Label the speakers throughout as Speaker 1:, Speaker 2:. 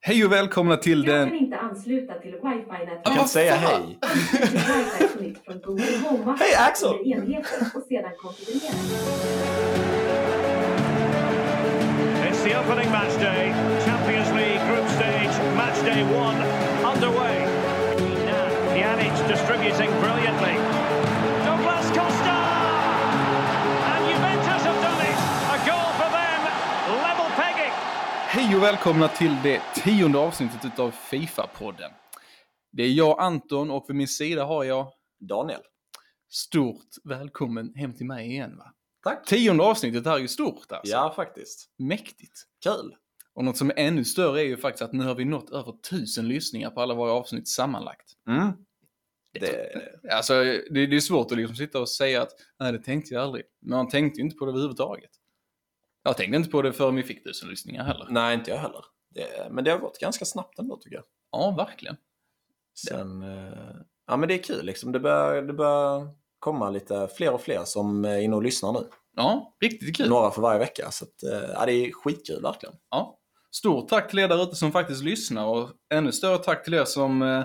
Speaker 1: Hej och välkomna till
Speaker 2: Jag kan
Speaker 1: den...
Speaker 2: inte ansluta till
Speaker 3: Du kan
Speaker 1: Ah,
Speaker 2: wifi-nätverket.
Speaker 3: inte säga
Speaker 1: fan.
Speaker 3: hej.
Speaker 2: Wifi-connect från Google Home.
Speaker 3: Hej, Axel!
Speaker 2: Under enheten och sedan konfigurera.
Speaker 4: It's the opening match day, Champions League group stage, match day one underway. Now, Pjanic distributing brilliantly. Douglas Costa! And Juventus have done it. A goal for them, level pegging.
Speaker 1: Hej och välkomna till det tionde avsnittet utav Fifa-podden. Det är jag, Anton, och vid min sida har jag
Speaker 3: Daniel.
Speaker 1: stort välkommen hem till mig igen. Va?
Speaker 3: Tack.
Speaker 1: Tionde avsnittet här är ju stort alltså.
Speaker 3: Ja, faktiskt.
Speaker 1: Mäktigt.
Speaker 3: Kul.
Speaker 1: Och något som är ännu större är ju faktiskt att nu har vi nått över tusen lyssningar på alla våra avsnitt sammanlagt.
Speaker 3: Det,
Speaker 1: Alltså, det, det är svårt att liksom sitta och säga att nej, det tänkte jag aldrig. Men man tänkte ju inte på det överhuvudtaget. Jag tänkte inte på det förrän vi fick tusen lyssningar heller.
Speaker 3: nej, inte jag heller. Det, men det har gått ganska snabbt ändå tycker jag.
Speaker 1: Ja, verkligen.
Speaker 3: Sen, eh, ja men det är kul liksom. Det börjar, det börjar komma lite fler och fler som är inne och lyssnar nu.
Speaker 1: Ja, riktigt kul.
Speaker 3: Några för varje vecka. Så att, eh, ja, det är skitkul verkligen.
Speaker 1: Ja. Stort tack till er där ute som faktiskt lyssnar och ännu större tack till er som eh,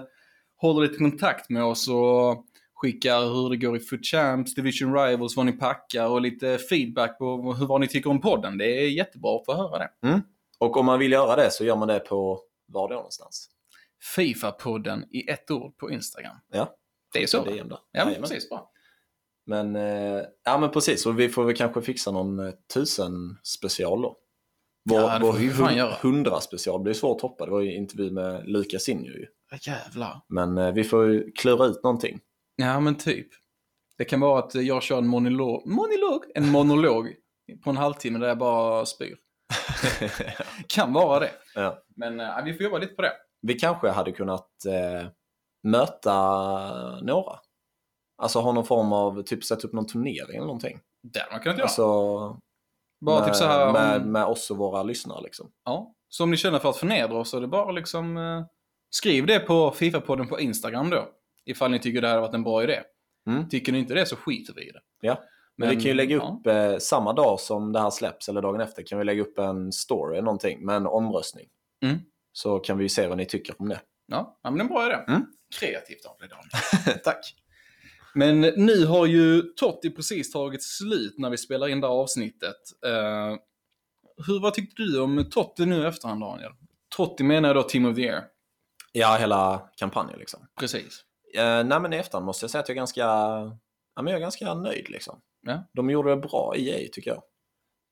Speaker 1: håller lite kontakt med oss och skickar hur det går i Foot Champs, Division Rivals, vad ni packar och lite feedback på hur, vad ni tycker om podden. Det är jättebra att få höra det.
Speaker 3: Och om man vill göra det så gör man det på var då någonstans?
Speaker 1: Fifa-podden i ett ord på Instagram.
Speaker 3: Ja.
Speaker 1: Det är så.
Speaker 3: Det är där.
Speaker 1: Ja, men
Speaker 3: Jajamän.
Speaker 1: precis. Bra.
Speaker 3: Men, eh, ja, men precis, och vi får väl kanske fixa någon eh, tusen special då. Vår,
Speaker 1: Ja, det
Speaker 3: vår
Speaker 1: får vi fan
Speaker 3: hun-
Speaker 1: göra.
Speaker 3: hundra special blir svårt att hoppa. Det var ju intervju med Lukas Injo ju.
Speaker 1: Jävlar.
Speaker 3: Men eh, vi får ju klura ut någonting.
Speaker 1: Ja, men typ. Det kan vara att jag kör en monolog, monolog, en monolog på en halvtimme där jag bara spyr. kan vara det.
Speaker 3: Ja.
Speaker 1: Men eh, vi får jobba lite på det.
Speaker 3: Vi kanske hade kunnat eh, möta några. Alltså ha någon form av, typ sätta upp någon turnering eller någonting.
Speaker 1: Det hade man kunnat göra.
Speaker 3: Alltså,
Speaker 1: bara
Speaker 3: med,
Speaker 1: typ så här.
Speaker 3: med,
Speaker 1: om,
Speaker 3: med oss och våra lyssnare liksom.
Speaker 1: ja. Så om ni känner för att förnedra oss så är det bara liksom eh, skriv det på Fifa-podden på Instagram då. Ifall ni tycker det här har varit en bra idé.
Speaker 3: Mm.
Speaker 1: Tycker ni inte det så skiter vi i det.
Speaker 3: Ja. Men, vi kan ju lägga
Speaker 1: ja.
Speaker 3: upp eh, samma dag som det här släpps, eller dagen efter, kan vi lägga upp en story eller någonting med en omröstning.
Speaker 1: Mm.
Speaker 3: Så kan vi ju se vad ni tycker om det.
Speaker 1: Ja, ja men det är en bra idé.
Speaker 3: Mm.
Speaker 1: Kreativt av dig Daniel.
Speaker 3: Tack.
Speaker 1: Men nu har ju Totti precis tagit slut när vi spelar in det här avsnittet. Eh, hur, vad tyckte du om Totti nu i efterhand Daniel? Totti menar jag då Team of the Year.
Speaker 3: Ja, hela kampanjen liksom.
Speaker 1: Precis.
Speaker 3: Eh, nej, men i efterhand måste jag säga att jag är ganska, ja, men jag är ganska nöjd liksom.
Speaker 1: Ja.
Speaker 3: De gjorde det bra i EA tycker jag.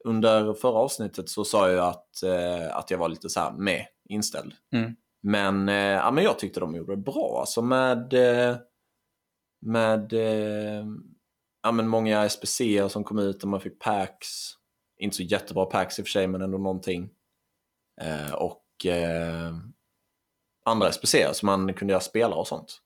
Speaker 3: Under förra avsnittet så sa jag att, eh, att jag var lite så här med inställd.
Speaker 1: Mm.
Speaker 3: Men, eh, ja, men jag tyckte de gjorde det bra. Alltså med, eh, med eh, ja, men många SPC som kom ut och man fick packs. Inte så jättebra packs i och för sig, men ändå någonting. Eh, och eh, andra SPC som man kunde göra spelare och sånt.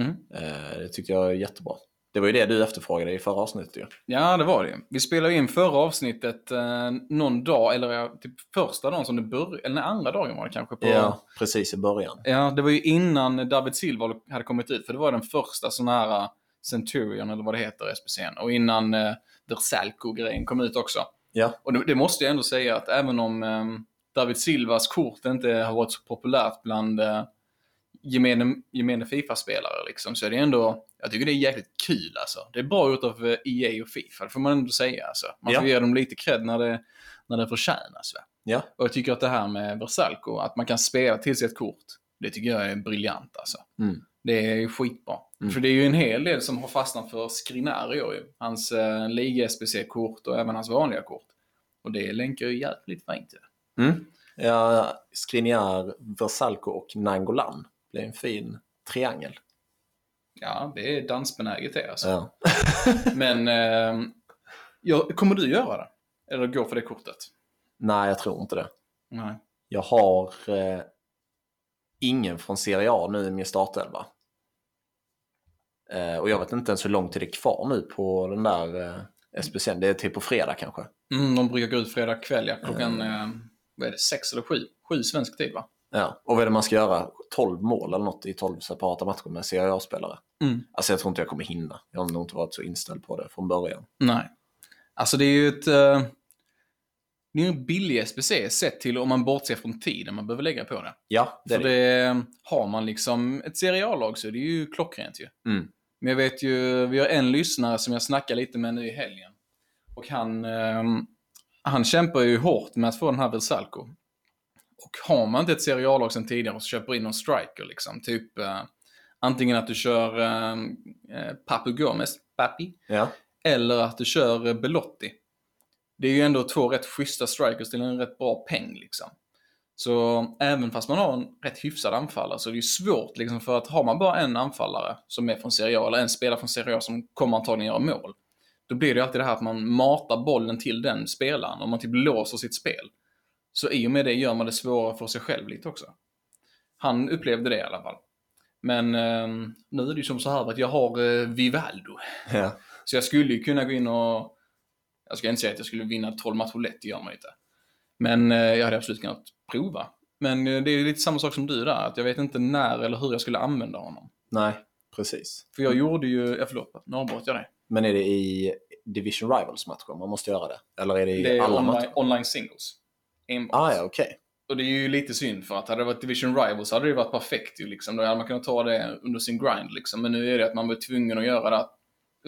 Speaker 1: Mm.
Speaker 3: Eh, det tyckte jag är jättebra. Det var ju det du efterfrågade i förra avsnittet ju.
Speaker 1: Ja, det var det. Vi spelade in förra avsnittet eh, någon dag, eller ja, typ första dagen som det började, eller nej, andra dagen var det kanske. På,
Speaker 3: Precis i början.
Speaker 1: Ja, det var ju innan David Silva hade kommit ut, för det var den första sån här eh, Centurion, eller vad det heter, SPC'n. Och innan eh, Versalco-grejen kom ut också.
Speaker 3: Ja.
Speaker 1: Och det, det måste jag ändå säga att även om ehm, David Silvas kort inte har varit så populärt bland eh, gemene, gemene Fifa-spelare, liksom, så är det ändå, jag tycker det är jäkligt kul alltså. Det är bra gjort av eh, EA och Fifa, det får man ändå säga. Alltså. Man får
Speaker 3: Ja.
Speaker 1: ge dem lite cred när det, när det förtjänas. Va?
Speaker 3: Ja.
Speaker 1: Och jag tycker att det här med Versalco, att man kan spela till sig ett kort, det tycker jag är briljant alltså.
Speaker 3: Mm.
Speaker 1: Det är ju skitbra.
Speaker 3: Mm.
Speaker 1: För det är ju en hel del som har fastnat för Skriniar i år ju. Hans eh, liga-SPC-kort och även hans vanliga kort. Och det länkar ju jävligt fint till.
Speaker 3: Mm. Ja, Skriniar, Versalco och Nangolan. Det är en fin triangel.
Speaker 1: Ja, det är dansbenäget det alltså.
Speaker 3: Ja.
Speaker 1: Men eh, ja, kommer du göra det? Eller gå för det kortet?
Speaker 3: Nej, jag tror inte det.
Speaker 1: Nej.
Speaker 3: Jag har eh, ingen från Serie A nu i min startelva. Eh, och jag vet inte ens hur lång tid det är kvar nu på den där eh, SPCn. Det är till på fredag kanske.
Speaker 1: Mm, de brukar gå ut fredag kväll, ja. Klockan, eh, vad är det, sex eller sju? Sju svensk tid va?
Speaker 3: Ja. Och vad är det man ska göra? 12 mål eller något i 12 separata matcher med Serie A-spelare.
Speaker 1: Mm.
Speaker 3: Alltså jag tror inte jag kommer hinna. Jag har nog inte varit så inställd på det från början.
Speaker 1: Nej. Alltså det är ju ett... eh, det är en billig SBC sett till om man bortser från tiden man behöver lägga på det.
Speaker 3: Ja, det är
Speaker 1: För
Speaker 3: det.
Speaker 1: det, eh, har man liksom ett seriallag så är det ju klockrent ju.
Speaker 3: Mm.
Speaker 1: Men jag vet ju, vi har en lyssnare som jag snackade lite med nu i helgen. Och han, ehm, han kämpar ju hårt med att få den här Vesalco. Och har man inte ett seriallag sen tidigare och så köper in någon striker liksom, typ eh, antingen att du kör eh, eh, Papu Gomes, Papi,
Speaker 3: Ja.
Speaker 1: eller att du kör eh, Belotti. Det är ju ändå två rätt schyssta strikers till en rätt bra peng liksom. Så även fast man har en rätt hyfsad anfallare så är det ju svårt liksom för att har man bara en anfallare som är från Serie A eller en spelare från Serie A som kommer antagligen göra mål. Då blir det ju alltid det här att man matar bollen till den spelaren och man typ låser sitt spel. Så i och med det gör man det svårare för sig själv lite också. Han upplevde det i alla fall. Men eh, nu är det ju som så här att jag har eh, Vivaldo.
Speaker 3: Ja.
Speaker 1: Så jag skulle ju kunna gå in och... Jag ska inte säga att jag skulle vinna 12 matcher lätt, det gör man ju inte. Men eh, jag hade absolut kunnat prova. Men eh, det är lite samma sak som du där, att jag vet inte när eller hur jag skulle använda honom.
Speaker 3: Nej, precis.
Speaker 1: För jag gjorde ju, ja förlåt, nu avbröt jag det.
Speaker 3: Men är det i Division Rivals-matcher man måste göra det? Eller är det i
Speaker 1: Det är
Speaker 3: alla
Speaker 1: online,
Speaker 3: matcher?
Speaker 1: online singles. Enbart.
Speaker 3: Ah, ja, okej.
Speaker 1: Och det är ju lite synd för att hade det varit Division Rivals hade det ju varit perfekt ju liksom. Då hade man kunnat ta det under sin grind liksom. Men nu är det att man blir tvungen att göra det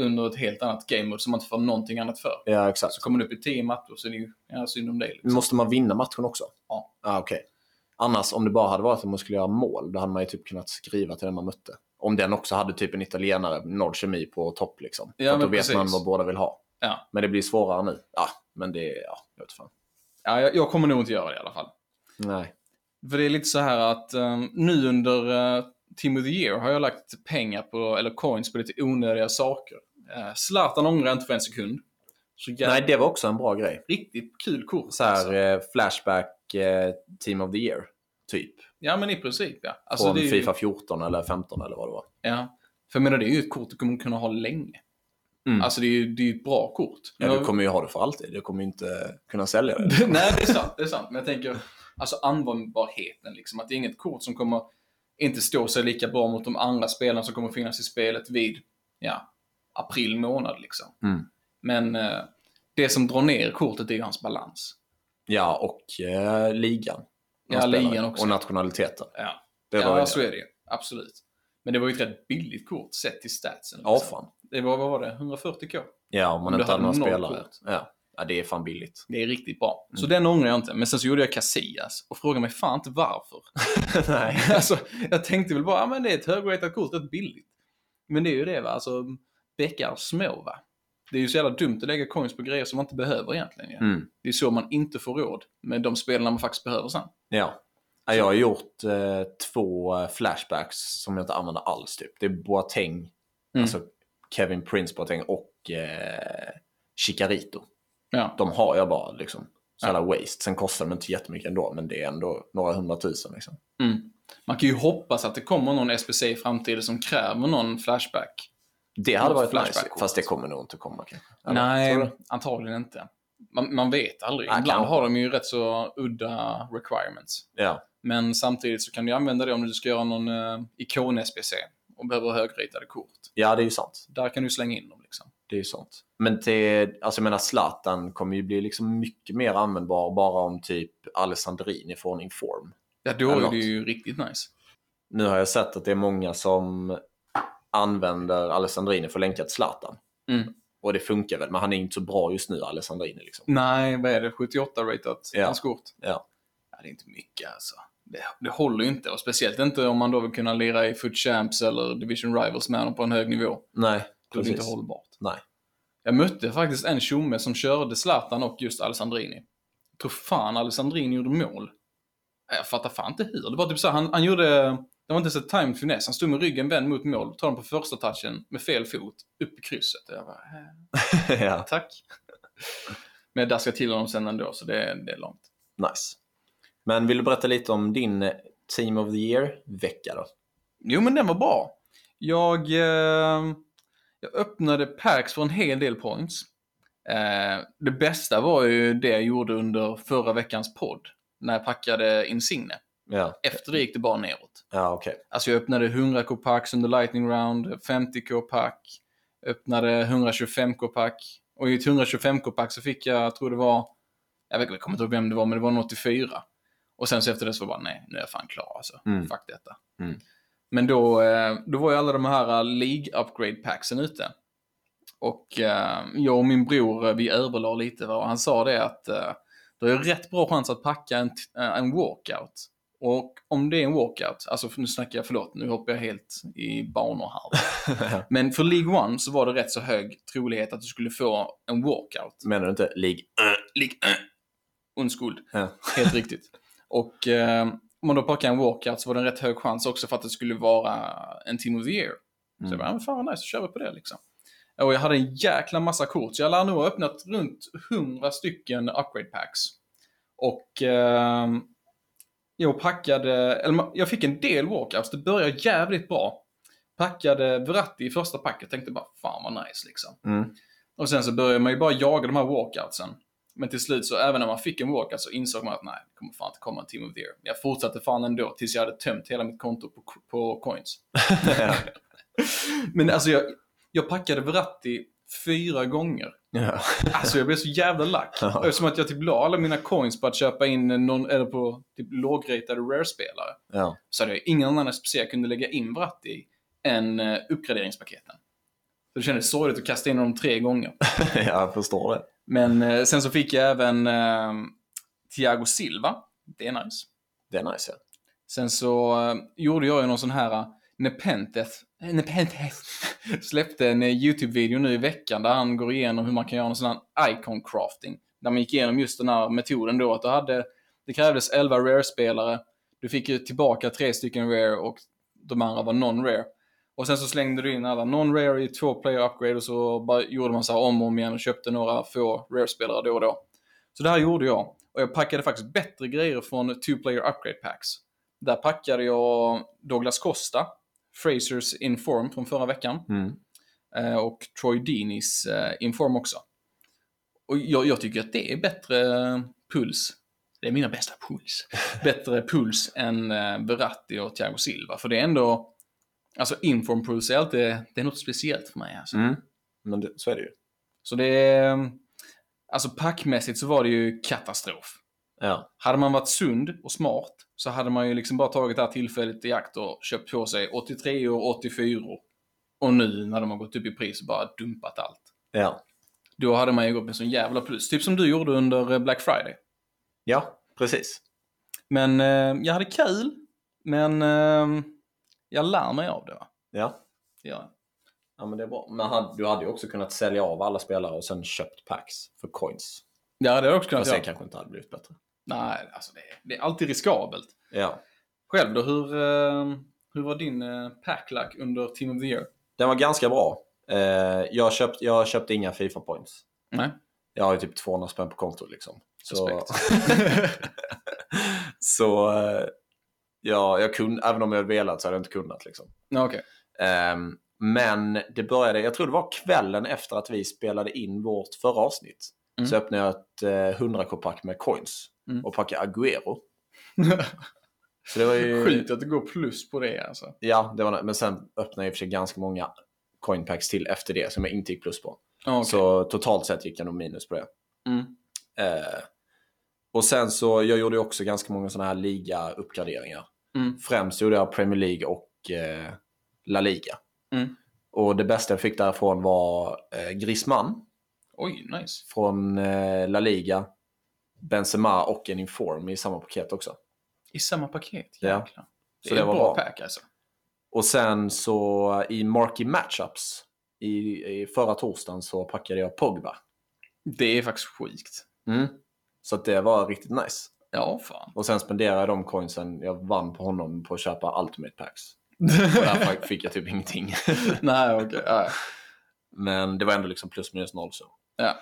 Speaker 1: under ett helt annat game mode som man inte får någonting annat för.
Speaker 3: Ja, exakt.
Speaker 1: Så kommer du upp i 10 matcher så är det ju ja, synd om det. Liksom.
Speaker 3: Måste man vinna matchen också?
Speaker 1: Ja.
Speaker 3: Ah, okej. Annars, om det bara hade varit att man skulle göra mål, då hade man ju typ kunnat skriva till den man mötte. Om den också hade typ en italienare, noll kemi på topp liksom.
Speaker 1: Ja,
Speaker 3: För att
Speaker 1: men
Speaker 3: då vet
Speaker 1: precis.
Speaker 3: man vad båda vill ha.
Speaker 1: Ja.
Speaker 3: Men det blir svårare nu. Ja, men det, ja, jag vet fan.
Speaker 1: Ja, jag, jag kommer nog inte göra det i alla fall.
Speaker 3: Nej.
Speaker 1: För det är lite så här att eh, nu under uh, Team of the Year har jag lagt pengar på, eller coins på lite onödiga saker. Uh, Zlatan ångrar jag inte för en sekund. Så jävla
Speaker 3: Nej, det var också en bra grej.
Speaker 1: riktigt kul kort. alltså.
Speaker 3: Så här, eh, flashback eh, team of the year, typ.
Speaker 1: Ja, men i princip ja.
Speaker 3: Från
Speaker 1: Alltså, det är ju,
Speaker 3: Fifa 14 eller 15 eller vad det var.
Speaker 1: Ja. För jag menar, det är ju ett kort du kommer kunna ha länge.
Speaker 3: Mm.
Speaker 1: Alltså det är ju det är ju ett bra kort.
Speaker 3: Ja,
Speaker 1: Jag-
Speaker 3: du kommer ju ha det för alltid. Du kommer ju inte kunna sälja det.
Speaker 1: Nej, det är sant. Det är sant. Men jag tänker, alltså användbarheten liksom. Att det är inget kort som kommer inte stå sig lika bra mot de andra spelarna som kommer finnas i spelet vid, ja, april månad liksom.
Speaker 3: Mm.
Speaker 1: Men eh, det som drar ner kortet är ju hans balans.
Speaker 3: Ja, och eh, ligan.
Speaker 1: Ja,
Speaker 3: Spelare.
Speaker 1: ligan också.
Speaker 3: Och nationaliteten.
Speaker 1: Ja,
Speaker 3: Det var
Speaker 1: ja
Speaker 3: det.
Speaker 1: så är det ju. Absolut. Men det var ju ett rätt billigt kort sett till statsen.
Speaker 3: Ja,
Speaker 1: liksom.
Speaker 3: fan.
Speaker 1: Det var, vad var det? 140k?
Speaker 3: Ja, om man
Speaker 1: Om du
Speaker 3: inte hade några
Speaker 1: hade noll
Speaker 3: spelare.
Speaker 1: kort.
Speaker 3: Ja. ja, det är fan billigt.
Speaker 1: Det är riktigt bra. Så
Speaker 3: Mm.
Speaker 1: den ångrar jag inte. Men sen så gjorde jag Casillas och frågade mig fan inte varför.
Speaker 3: Nej.
Speaker 1: alltså, jag tänkte väl bara, ah, men det är ett högratat kort, rätt billigt. Men det är ju det va, alltså bäckar små va. Det är ju så jävla dumt att lägga coins på grejer som man inte behöver egentligen. ju.
Speaker 3: Mm.
Speaker 1: Det är så man inte får råd med de spelarna man faktiskt behöver sen.
Speaker 3: Ja. Ja, Jag har gjort eh, två eh, flashbacks som jag inte använder alls. Typ. Det är Boateng,
Speaker 1: Mm.
Speaker 3: alltså Kevin Prince Boateng och eh, Chicarito.
Speaker 1: Ja.
Speaker 3: De har jag bara liksom. Så jävla waste. Sen kostar de inte jättemycket ändå, men det är ändå några hundratusen. Liksom.
Speaker 1: Mm. Man kan ju hoppas att det kommer någon SPC i framtiden som kräver någon flashback.
Speaker 3: Det hade
Speaker 1: Något
Speaker 3: varit nice,
Speaker 1: flashback-kort.
Speaker 3: fast det kommer nog inte komma. kanske. Eller, tror
Speaker 1: Nej,
Speaker 3: du?
Speaker 1: antagligen inte. Man, man vet aldrig.
Speaker 3: Nej,
Speaker 1: Ibland
Speaker 3: kanske.
Speaker 1: har de ju rätt så udda requirements.
Speaker 3: Ja.
Speaker 1: Men samtidigt så kan du använda det om du ska göra någon eh, ikon-SPC och behöver högritade kort.
Speaker 3: ja, det är ju sant.
Speaker 1: Där kan du slänga in dem. Liksom.
Speaker 3: Det är ju sånt. Men till, alltså jag menar Zlatan kommer ju bli liksom mycket mer användbar bara om typ Alessandrini får en inform.
Speaker 1: Ja, då
Speaker 3: Eller
Speaker 1: är
Speaker 3: något.
Speaker 1: det ju riktigt nice.
Speaker 3: Nu har jag sett att det är många som använder Alessandrini för att länka till Zlatan.
Speaker 1: Mm.
Speaker 3: Och det funkar väl, men han är inte så bra just nu, Alessandrini. Liksom.
Speaker 1: Nej, vad är det? 78-ratat?
Speaker 3: Ja.
Speaker 1: Hans kort?
Speaker 3: Ja.
Speaker 1: Ja, det är inte mycket alltså. Det, det håller ju inte. Och speciellt inte om man då vill kunna lira i Foot Champs eller Division Rivals med honom på en hög nivå. Då
Speaker 3: Nej,
Speaker 1: är det
Speaker 3: precis.
Speaker 1: inte hållbart.
Speaker 3: Nej.
Speaker 1: Jag mötte faktiskt en tjomme som körde Zlatan och just Alessandrini. Jag tror fan Alessandrini gjorde mål. Jag fattar fan inte hur. Det var typ så här, han, han gjorde... Det var inte ens ett timed finess. Han stod med ryggen vänd mot mål, tar den på första touchen med fel fot, upp i krysset. Jag bara, "Eh,
Speaker 3: ja,
Speaker 1: tack. Men jag daskade till honom sen ändå, så det, det är långt.
Speaker 3: nice. Men vill du berätta lite om din eh, Team of the Year-vecka då?
Speaker 1: Jo, men den var bra. Jag, eh, jag öppnade packs för en hel del points. Eh, det bästa var ju det jag gjorde under förra veckans podd, när jag packade Insigne.
Speaker 3: Ja,
Speaker 1: Efter det gick det bara neråt.
Speaker 3: ja okej.
Speaker 1: Alltså jag öppnade 100k packs under lightning round, 50k pack, öppnade 125k pack. Och i ett 125k pack så fick jag, jag tror det var jag vet- jag kommer inte ihåg vem det var, men det var en 84. Och sen så efter det så var jag bara, nej, nu är jag fan klar alltså.
Speaker 3: Mm.
Speaker 1: Fuck detta.
Speaker 3: Mm.
Speaker 1: Men då, eh, då var ju alla de här eh, League Upgrade Packsen ute. Och eh, jag och min bror, eh, vi överlade lite va? och han sa det att eh, du har ju rätt bra chans att packa en, t- eh, en walkout. Och om det är en walkout, alltså nu snackar jag, förlåt, nu hoppar jag helt i banor här. Men för League One så var det rätt så hög trolighet att du skulle få en walkout.
Speaker 3: Menar du inte League? Mm.
Speaker 1: Lik, äh, unskuld.
Speaker 3: Ja.
Speaker 1: Helt riktigt. Och eh, om man då plockar en walkout så var det en rätt hög chans också för att det skulle vara en team of the year. Så
Speaker 3: Mm.
Speaker 1: jag bara, "Ja, men fan vad nice, så kör vi på det liksom. Och jag hade en jäkla massa kort, så jag lär nog ha öppnat runt 100 stycken upgrade packs. Och eh, jag packade, eller ma- jag fick en del walkouts, det började jävligt bra. Packade Verratti i första packet, tänkte bara fan vad nice liksom.
Speaker 3: Mm.
Speaker 1: Och sen så började man ju bara jaga de här walkoutsen. Men till slut så, även när man fick en walkout så insåg man att nej, det kommer fan inte komma en team of the year. Men Jag fortsatte fan ändå tills jag hade tömt hela mitt konto på, på coins. Men alltså jag, jag packade Verratti fyra gånger.
Speaker 3: Ja.
Speaker 1: Alltså jag blev så jävla lack.
Speaker 3: Ja.
Speaker 1: Eftersom att jag typ la alla mina coins på att köpa in någon, eller på typ lågratade rare-spelare.
Speaker 3: ja.
Speaker 1: Så hade jag ingen annan SPC jag kunde lägga in Verratti i än eh, uppgraderingspaketen. Så det kändes sorgligt att kasta in dem tre gånger.
Speaker 3: ja, jag förstår det.
Speaker 1: Men eh, sen så fick jag även eh, Thiago Silva. Det är nice.
Speaker 3: Det är nice. Ja.
Speaker 1: Sen så eh, gjorde jag ju någon sån här eh, Nepenteth, eh, Nepenteth släppte en eh, YouTube-video nu i veckan där han går igenom hur man kan göra någon sån här icon crafting. Där man gick igenom just den här metoden då att du hade, det krävdes 11 rare-spelare, du fick ju tillbaka tre stycken rare och de andra var non-rare. Och sen så slängde du in alla non-rare i två player upgrade och så bara gjorde man så här om och om igen och köpte några få rare-spelare då och då. Så det här gjorde jag. Och jag packade faktiskt bättre grejer från two player upgrade packs. Där packade jag Douglas Costa, Frasers Inform från förra veckan
Speaker 3: Mm.
Speaker 1: eh, och Troy Deenys eh, Inform också. Och jag, jag tycker att det är bättre puls. Det är mina bästa puls. Bättre puls än eh, Verratti och Thiago Silva. För det är ändå... Alltså Inform puls är alltid... Det är något speciellt för mig. Alltså.
Speaker 3: Mm. Men det, så är det ju.
Speaker 1: Så det är... Alltså packmässigt så var det ju katastrof.
Speaker 3: Ja.
Speaker 1: Hade man varit sund och smart så hade man ju liksom bara tagit det här tillfället i akt och köpt på sig 83 och 84 och nu när de har gått upp i pris och bara dumpat allt.
Speaker 3: Ja.
Speaker 1: Då hade man ju gått med sån jävla plus. Typ som du gjorde under eh, Black Friday.
Speaker 3: ja, precis.
Speaker 1: Men eh, jag hade kul. Men eh, jag lär mig av det va?
Speaker 3: Ja.
Speaker 1: Det gör jag.
Speaker 3: ja, men det är bra. Men han- du hade ju också kunnat sälja av alla spelare och sen köpt packs för coins.
Speaker 1: Ja, det hade jag också
Speaker 3: Och
Speaker 1: kunnat
Speaker 3: sen
Speaker 1: göra.
Speaker 3: kanske inte hade blivit bättre.
Speaker 1: Nej, alltså det, det är alltid riskabelt.
Speaker 3: Ja.
Speaker 1: Själv då, hur, eh, hur var din eh, packlack under Team of the Year?
Speaker 3: Den var ganska bra. Eh, jag, köpt, jag köpte inga Fifa points.
Speaker 1: Nej.
Speaker 3: Jag har ju typ 200 spänn på kontot liksom. Så,
Speaker 1: Respekt.
Speaker 3: så eh, ja, jag kunde, även om jag hade velat så hade jag inte kunnat liksom.
Speaker 1: Ja, Okej.
Speaker 3: Ehm, men det började, jag tror det var kvällen efter att vi spelade in vårt förra avsnitt.
Speaker 1: Mm.
Speaker 3: Så öppnade jag ett eh, 100k-pack med coins
Speaker 1: Mm.
Speaker 3: och packade Aguero. Så det var ju...
Speaker 1: Sjukt att det går plus på det alltså.
Speaker 3: Ja, det var, men sen öppnade jag i och för sig ganska många coinpacks till efter det som jag inte gick plus på.
Speaker 1: Ja, okej.
Speaker 3: Så totalt sett gick jag nog minus på det.
Speaker 1: Mm.
Speaker 3: Eh, och sen så, jag gjorde ju också ganska många sådana här liga-uppgraderingar.
Speaker 1: Mm.
Speaker 3: Främst gjorde jag Premier League och eh, La Liga.
Speaker 1: Mm.
Speaker 3: Och det bästa jag fick därifrån var eh, Griezmann
Speaker 1: Oj, nice.
Speaker 3: från eh, La Liga, Benzema och en Inform i samma paket också.
Speaker 1: I samma paket,
Speaker 3: Ja.
Speaker 1: jäklar. Det
Speaker 3: Så
Speaker 1: är
Speaker 3: det
Speaker 1: ett
Speaker 3: var
Speaker 1: bra
Speaker 3: bra.
Speaker 1: pack alltså.
Speaker 3: Och sen så i Marquee Matchups i, i förra torsdagen så packade jag Pogba.
Speaker 1: Det är faktiskt sjukt.
Speaker 3: Så att det var riktigt nice.
Speaker 1: Ja, fan.
Speaker 3: Och sen spenderade jag de coinsen jag vann på honom på att köpa Ultimate Packs. Och där fick jag typ ingenting.
Speaker 1: Nej, okej. nej.
Speaker 3: Men det var ändå liksom plus minus noll. Så.
Speaker 1: Ja.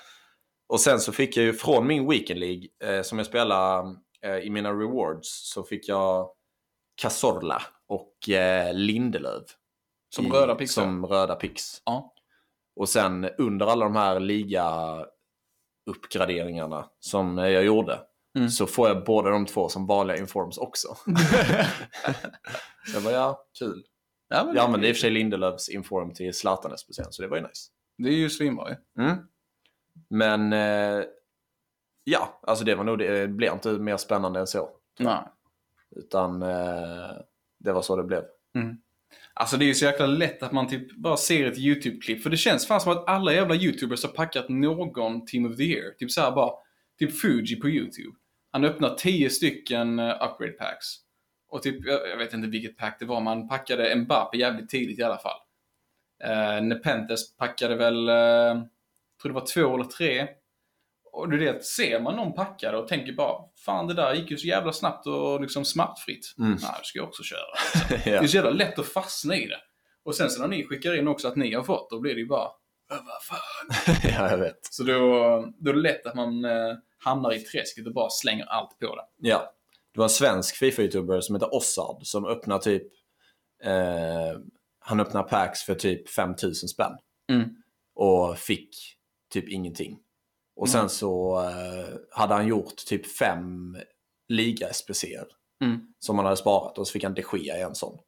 Speaker 3: Och sen så fick jag ju från min Weekend League, eh, som jag spelar eh, i mina rewards, så fick jag Cazorla och eh, Lindelöf.
Speaker 1: Som
Speaker 3: i,
Speaker 1: röda pixlar.
Speaker 3: Som röda pix.
Speaker 1: Ja.
Speaker 3: Och sen under alla de här liga-uppgraderingarna som eh, jag gjorde,
Speaker 1: Mm.
Speaker 3: så får jag båda de två som vanliga informs också. så jag bara, ja, kul.
Speaker 1: Ja, men
Speaker 3: Jag använde i och för sig Lindelöfs inform till Zlatan speciellt, så det var ju nice.
Speaker 1: Det är ju svinbra ju.
Speaker 3: Men eh, Ja, alltså det var nog det. Det blev inte mer spännande än så.
Speaker 1: Nej.
Speaker 3: Utan eh, det var så det blev.
Speaker 1: Alltså det är ju så jäkla lätt att man typ bara ser ett YouTube-klipp. För det känns fan som att alla jävla YouTubers har packat någon Team of the Year. Typ så här bara, typ Fuji på YouTube. Han öppnar 10 stycken eh, upgrade packs. Och typ, jag, jag vet inte vilket pack det var, men han packade Mbappe jävligt tidigt i alla fall. Uh, Nepenthes packade väl, eh, jag tror det var två eller tre. Och du vet, ser man någon packa det och tänker bara, fan det där gick ju så jävla snabbt och liksom smärtfritt.
Speaker 3: Mm.
Speaker 1: Nej, det ska jag också köra.
Speaker 3: ja.
Speaker 1: Det är så jävla lätt att fastna i det. Och sen så när ni skickar in också att ni har fått, då blir det ju bara "Äh, vad fan.
Speaker 3: ja, jag vet.
Speaker 1: Så då, då är det lätt att man eh, hamnar i träsket och bara slänger allt på det.
Speaker 3: Ja. Det var en svensk Fifa-youtuber som heter Ossard som öppnar typ... Eh, han öppnar packs för typ 5000 spänn.
Speaker 1: Mm.
Speaker 3: Och fick typ ingenting. Och
Speaker 1: Mm.
Speaker 3: sen så eh, hade han gjort typ fem liga-SPCer
Speaker 1: Mm.
Speaker 3: som han hade sparat och så fick han de Gea i en sån.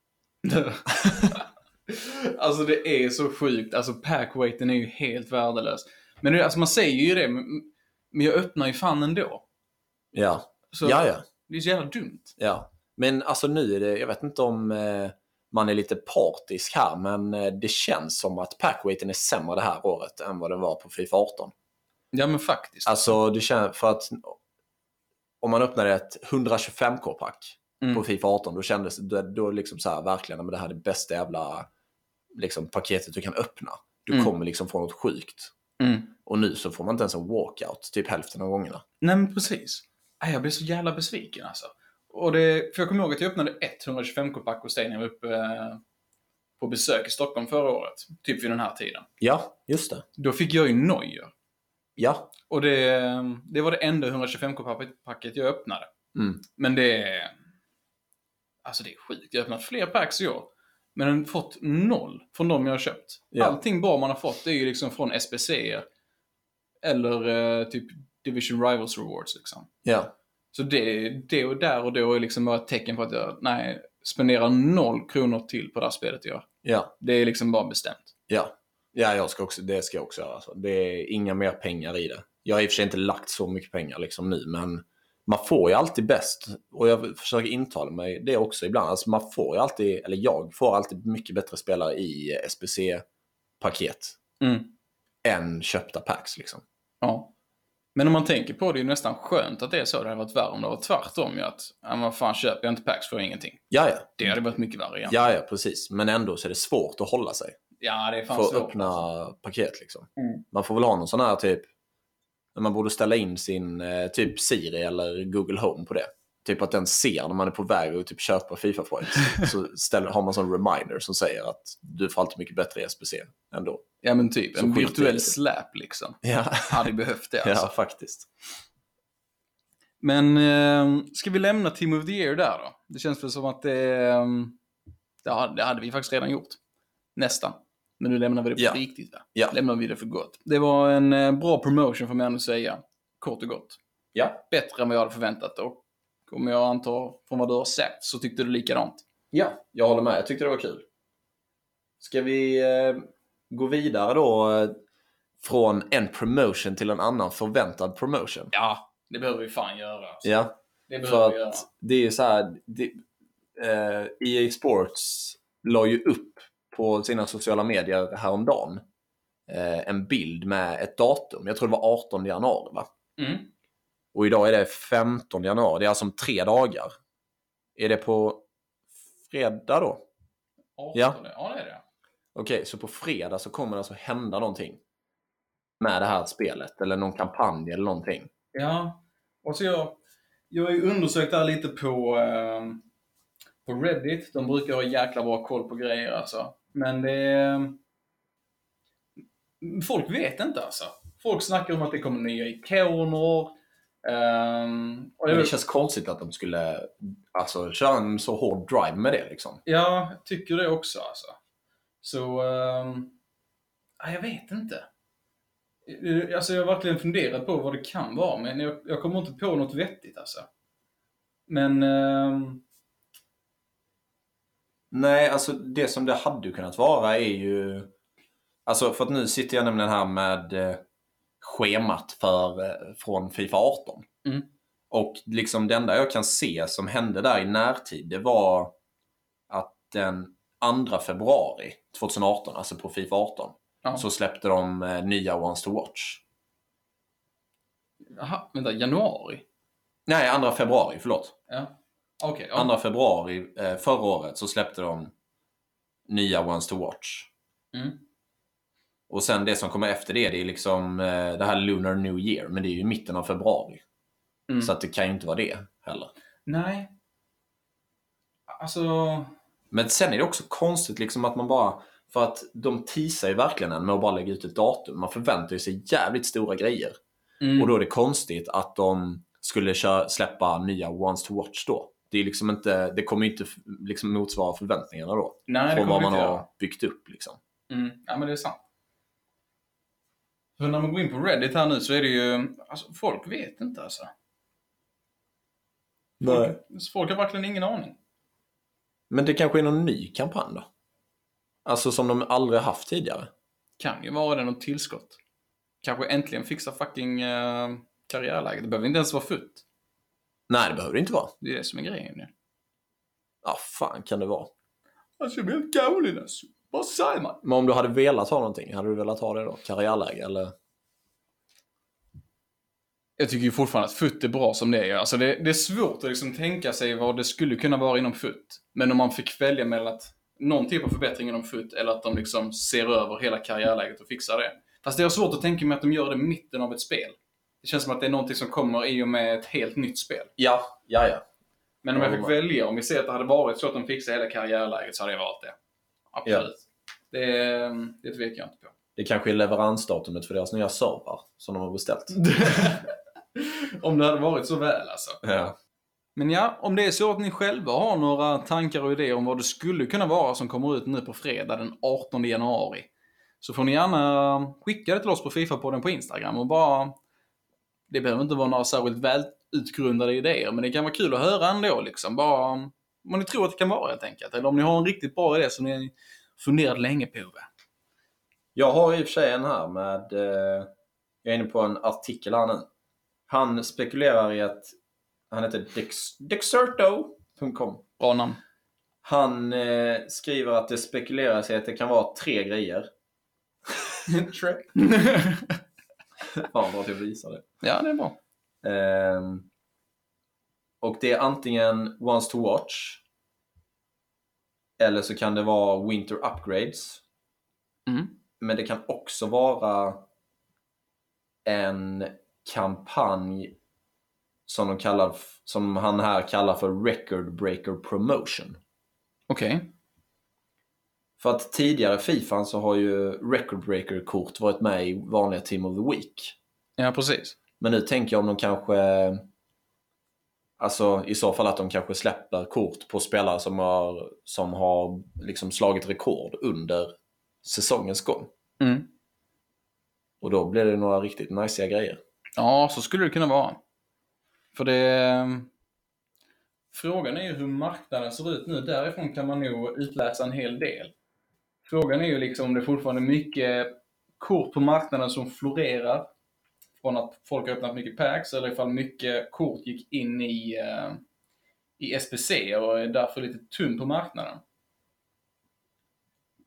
Speaker 1: alltså det är så sjukt. Alltså packweighten är ju helt värdelös. Men det, alltså man säger ju det, men, men jag öppnar ju fan ändå.
Speaker 3: Ja.
Speaker 1: Så
Speaker 3: ja, ja.
Speaker 1: det är så jävla dumt.
Speaker 3: Ja, men alltså nu är det, jag vet inte om eh, man är lite partisk här, men eh, det känns som att packweighten är sämre det här året än vad den var på Fifa 18.
Speaker 1: Ja men faktiskt.
Speaker 3: Alltså, det känns för att om man öppnade ett 125k-pack
Speaker 1: Mm.
Speaker 3: på Fifa 18, då kändes det då, då liksom så här, verkligen, men det här är det bästa jävla liksom, paketet du kan öppna. Du
Speaker 1: Mm.
Speaker 3: kommer liksom få något sjukt.
Speaker 1: Mm.
Speaker 3: Och nu så får man inte ens en walkout, typ hälften av gångerna.
Speaker 1: Nej men precis. Nej, Jag blev så jävla besviken alltså. Och det, för jag kommer ihåg att jag öppnade 125k-pack hos dig när jag var uppe eh, på besök i Stockholm förra året. Typ vid den här tiden.
Speaker 3: Ja, just det.
Speaker 1: Då fick jag ju Neuer.
Speaker 3: Ja,
Speaker 1: Och det, eh, det var det enda 125k-packet jag öppnade.
Speaker 3: Mm.
Speaker 1: Men det... Alltså det är sjukt. Jag har öppnat fler packs i år. Men fått noll från de jag har köpt.
Speaker 3: Ja.
Speaker 1: Allting bra man har fått är ju liksom från SPC Eller eh, typ Division Rivals Rewards liksom.
Speaker 3: ja,
Speaker 1: Så det, det och där och då är liksom bara ett tecken på att jag nej, spenderar noll kronor till på det här spelet jag gör.
Speaker 3: ja.
Speaker 1: Det är liksom bara bestämt.
Speaker 3: Ja, ja jag ska också, det ska jag också göra. Alltså. Det är inga mer pengar i det. Jag har i och för sig inte lagt så mycket pengar liksom nu, men man får ju alltid bäst. Och jag försöker intala mig det också ibland. Alltså man får ju alltid, eller jag får alltid mycket bättre spelare i SBC-paket
Speaker 1: Mm.
Speaker 3: än köpta packs. Liksom.
Speaker 1: Ja. Men om man tänker på det, det är ju nästan skönt att det är så. Det hade varit värre om det var tvärtom ju. Att, ja, men vad fan, köper jag inte packs får jag ingenting.
Speaker 3: Ja, ja.
Speaker 1: Det hade varit mycket värre igen.
Speaker 3: Ja, ja, precis. Men ändå så är det svårt att hålla sig
Speaker 1: ja det är
Speaker 3: för
Speaker 1: fan
Speaker 3: att
Speaker 1: svårt.
Speaker 3: öppna paket. Liksom.
Speaker 1: Mm.
Speaker 3: Man får väl ha någon sån här typ, man borde ställa in sin eh, typ Siri eller Google Home på det. Typ att den ser när man är på väg att typ köpa Fifa points. så ställer, har man sån reminder som säger att du får alltid mycket bättre E i SPC ändå.
Speaker 1: Ja men typ,
Speaker 3: Så
Speaker 1: en
Speaker 3: skit i
Speaker 1: virtuell
Speaker 3: det.
Speaker 1: släp liksom.
Speaker 3: Ja,
Speaker 1: Hade behövt det alltså.
Speaker 3: ja faktiskt.
Speaker 1: Men eh, ska vi lämna Team of the Year där då? Det känns väl som att det, eh, det, hade, det hade vi faktiskt redan gjort. Nästan. Men nu lämnar vi det på
Speaker 3: Ja.
Speaker 1: riktigt. Va?
Speaker 3: Ja.
Speaker 1: Lämnar vi det för gott. Det var en eh, bra promotion får man ändå säga. Kort och gott.
Speaker 3: Ja.
Speaker 1: Bättre än vad jag hade förväntat och om jag antar från vad du har sagt så tyckte du likadant.
Speaker 3: ja, jag håller med. Jag tyckte det var kul. Ska vi eh, gå vidare då eh, från en promotion till en annan förväntad promotion?
Speaker 1: Ja, det behöver vi fan göra. alltså.
Speaker 3: ja.
Speaker 1: Det
Speaker 3: För
Speaker 1: behöver vi göra.
Speaker 3: att det är ju så här, det, eh, EA Sports la ju upp på sina sociala medier häromdagen eh, en bild med ett datum. Jag tror det var 18 januari va?
Speaker 1: Mm.
Speaker 3: Och idag är det 15 januari, det är alltså om tre dagar. Är det på fredag då? Ja.
Speaker 1: Arton, ja, det är det.
Speaker 3: Okej, så på fredag så kommer det alltså hända någonting med det här spelet eller någon kampanj eller någonting.
Speaker 1: Ja, och så jag, jag har ju undersökt det här lite på, eh, på Reddit. De brukar ha jäkla bra koll på grejer alltså. Men det är... Folk vet inte alltså. Folk snackar om att det kommer nya ikoner. ehm, och jag
Speaker 3: Men det
Speaker 1: vet-
Speaker 3: känns konstigt att de skulle alltså, köra en så hård drive med det liksom.
Speaker 1: Ja, jag tycker det också alltså. Så, ehm, ja, jag vet inte. Eh, Alltså jag har verkligen funderat på vad det kan vara, men jag, jag kommer inte på något vettigt alltså. Men, ehm,
Speaker 3: Nej, alltså det som det hade kunnat vara är ju... Alltså för att nu sitter jag nämligen här med eh, schemat för, eh, från Fifa 18.
Speaker 1: Mm.
Speaker 3: Och liksom det enda jag kan se som hände där i närtid, det var att den 2 februari 2018, alltså på Fifa 18,
Speaker 1: Ja.
Speaker 3: så släppte de eh, nya Ones to Watch.
Speaker 1: Jaha, vänta, januari?
Speaker 3: Nej, 2 februari, förlåt.
Speaker 1: Ja. Okej, ja.
Speaker 3: 2 februari eh, förra året så släppte de nya Ones to Watch.
Speaker 1: Mm.
Speaker 3: Och sen det som kommer efter det, det är liksom eh, det här Lunar New Year, men det är ju i mitten av februari.
Speaker 1: Mm.
Speaker 3: Så att det kan ju inte vara det heller.
Speaker 1: Nej. Alltså...
Speaker 3: Men sen är det också konstigt liksom att man bara... För att de teasar ju verkligen en med att bara lägga ut ett datum. Man förväntar ju sig jävligt stora grejer.
Speaker 1: Mm.
Speaker 3: Och då är det konstigt att de skulle köra, släppa nya Ones to Watch då. Det, är liksom inte, det kommer ju inte f- liksom motsvara förväntningarna då.
Speaker 1: Nej, det
Speaker 3: från
Speaker 1: kommer
Speaker 3: vad
Speaker 1: det
Speaker 3: man
Speaker 1: inte
Speaker 3: har
Speaker 1: göra.
Speaker 3: byggt upp. Liksom.
Speaker 1: Mm. Ja, men det är sant. För när man går in på Reddit här nu så är det ju... Alltså, folk vet inte alltså. Folk, folk har verkligen ingen aning.
Speaker 3: Men det kanske är någon ny kampanj då? Alltså som de aldrig haft tidigare.
Speaker 1: Kan ju vara det något tillskott. Kanske äntligen fixa fucking eh, karriärläget. Det behöver inte ens vara fullt.
Speaker 3: Nej, det behöver det inte vara.
Speaker 1: Det är det som är grejen ju.
Speaker 3: Ja, fan kan det vara.
Speaker 1: Alltså jag blir helt galen alltså. Vad säger man?
Speaker 3: Men om du hade velat ha någonting, hade du velat ha det då? Karriärläge eller?
Speaker 1: Jag tycker ju fortfarande att FUT är bra som det är. ju. Alltså det, det är svårt att liksom tänka sig vad det skulle kunna vara inom FUT. Men om man fick välja mellan att någon typ av förbättring inom FUT eller att de liksom ser över hela karriärläget och fixar det. Fast det är svårt att tänka mig att de gör det i mitten av ett spel. Det känns som att det är någonting som kommer i och med ett helt nytt spel.
Speaker 3: Ja, ja, ja.
Speaker 1: Men om jag
Speaker 3: Ja,
Speaker 1: fick
Speaker 3: men-
Speaker 1: välja, om vi ser att det hade varit så att de fixar hela karriärläget så hade jag valt det. Absolut. Det, det tvekar jag inte på.
Speaker 3: Det kanske är leveransdatumet för deras nya servrar som de har beställt.
Speaker 1: om det hade varit så väl alltså.
Speaker 3: Ja.
Speaker 1: Men ja, om det är så att ni själva har några tankar och idéer om vad det skulle kunna vara som kommer ut nu på fredag den 18 januari. Så får ni gärna skicka det till oss på Fifa-podden på Instagram och bara... Det behöver inte vara några särskilt välutgrundade idéer, men det kan vara kul att höra ändå liksom. Bara vad ni tror att det kan vara helt enkelt. Eller om ni har en riktigt bra idé som ni funderat länge på. va?
Speaker 3: Jag har i och för sig en här med... Eh, jag är inne på en artikel här nu. Han spekulerar i att... Han heter Dex, Dexerto.com.
Speaker 1: Bra namn.
Speaker 3: Han eh, skriver att det spekuleras i att det kan vara tre grejer. Fan vad jag visar det.
Speaker 1: ja, det är bra.
Speaker 3: Ehm, och det är antingen Once to Watch. Eller så kan det vara Winter Upgrades.
Speaker 1: Mm.
Speaker 3: Men det kan också vara en kampanj som, de kallar, som han här kallar för Record Breaker Promotion.
Speaker 1: Okej.
Speaker 3: För att tidigare i Fifan så har ju Record Breaker-kort varit med i vanliga Team of the Week.
Speaker 1: Ja, precis.
Speaker 3: Men nu tänker jag om de kanske... Alltså i så fall att de kanske släpper kort på spelare som har, som har liksom slagit rekord under säsongens gång.
Speaker 1: Mm.
Speaker 3: Och då blir det några riktigt najsiga grejer.
Speaker 1: Ja, så skulle det kunna vara. För det... ehm, Frågan är ju hur marknaden ser ut nu. Därifrån kan man nog utläsa en hel del. Frågan är ju liksom om det fortfarande är mycket kort på marknaden som florerar från att folk har öppnat mycket packs eller ifall mycket kort gick in i, eh, i SPC och är därför lite tunn på marknaden.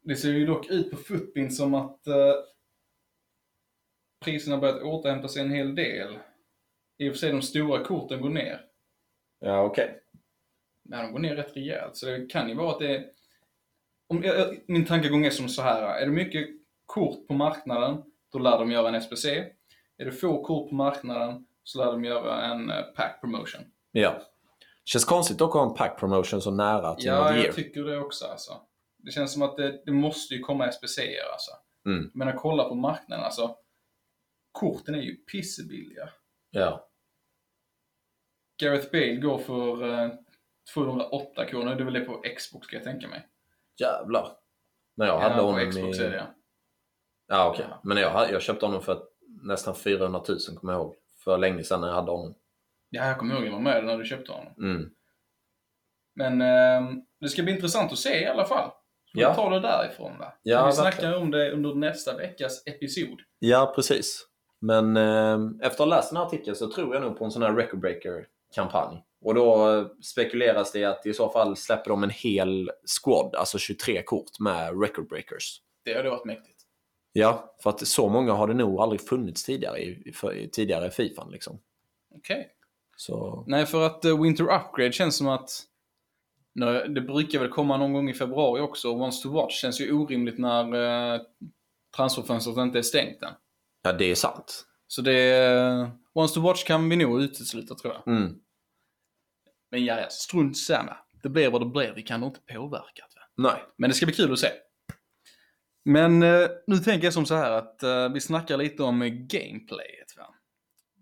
Speaker 1: Det ser ju dock ut på Footbin som att eh, priserna har börjat återhämta sig en hel del. I och för sig de stora korten går ner.
Speaker 3: Ja, okej.
Speaker 1: Men de går ner rätt rejält. Så det kan ju vara att det... Om, jag- jag- min tankegång är som så här. Är det mycket kort på marknaden, då lär de göra en SPC. Är det få kort på marknaden, så lär de göra en eh, pack promotion.
Speaker 3: Ja. Känns konstigt dock att ha en pack promotion så nära Team of
Speaker 1: Ja,
Speaker 3: the
Speaker 1: jag
Speaker 3: Year.
Speaker 1: tycker det också alltså. Det känns som att det, det måste ju komma SPC'er alltså.
Speaker 3: Mm.
Speaker 1: Men att kolla på marknaden alltså. Korten är ju pissebilliga.
Speaker 3: Ja.
Speaker 1: Gareth Bale går för eh, 208 kronor. Det är väl det på Xbox ska jag tänka mig.
Speaker 3: Jävlar. När jag hade
Speaker 1: på
Speaker 3: honom
Speaker 1: Xbox
Speaker 3: i...
Speaker 1: är det ja.
Speaker 3: Ja, okej. Men jag, hade- jag köpte honom för nästan 400 000 kommer jag ihåg. För länge sedan när jag hade honom.
Speaker 1: Ja, jag kommer ihåg jag var med när du köpte honom.
Speaker 3: Mm.
Speaker 1: Men eh, det ska bli intressant att se i alla fall. Ska
Speaker 3: Ja.
Speaker 1: vi ta det därifrån va?
Speaker 3: Ja,
Speaker 1: kan vi
Speaker 3: verkligen.
Speaker 1: snacka om det under nästa veckas episod.
Speaker 3: Ja, precis. Men eh, efter att ha läst den här artikeln så tror jag nog på en sån här record breaker-kampanj. Och då eh, spekuleras det att i så fall släpper de en hel squad, alltså 23 kort med record breakers.
Speaker 1: Det hade varit mäktigt.
Speaker 3: Ja, för att så många har det nog aldrig funnits tidigare i, i- för, i tidigare i Fifan liksom.
Speaker 1: Okej.
Speaker 3: Så
Speaker 1: Nej, för att eh, Winter Upgrade känns som att... Nej, det brukar väl komma någon gång i februari också. och Once to Watch känns ju orimligt när eh, transferfönstret inte är stängt än.
Speaker 3: ja, det är sant.
Speaker 1: Så det... Eh, Once to Watch kan vi nog utesluta tror jag.
Speaker 3: Mm.
Speaker 1: Men ja, ja, strunt samma. Det blir vad det blir. Vi kan nog inte påverka det.
Speaker 3: Nej.
Speaker 1: Men det ska bli kul att se. Men eh, nu tänker jag som så här att eh, vi snackar lite om eh, gameplayet. Va?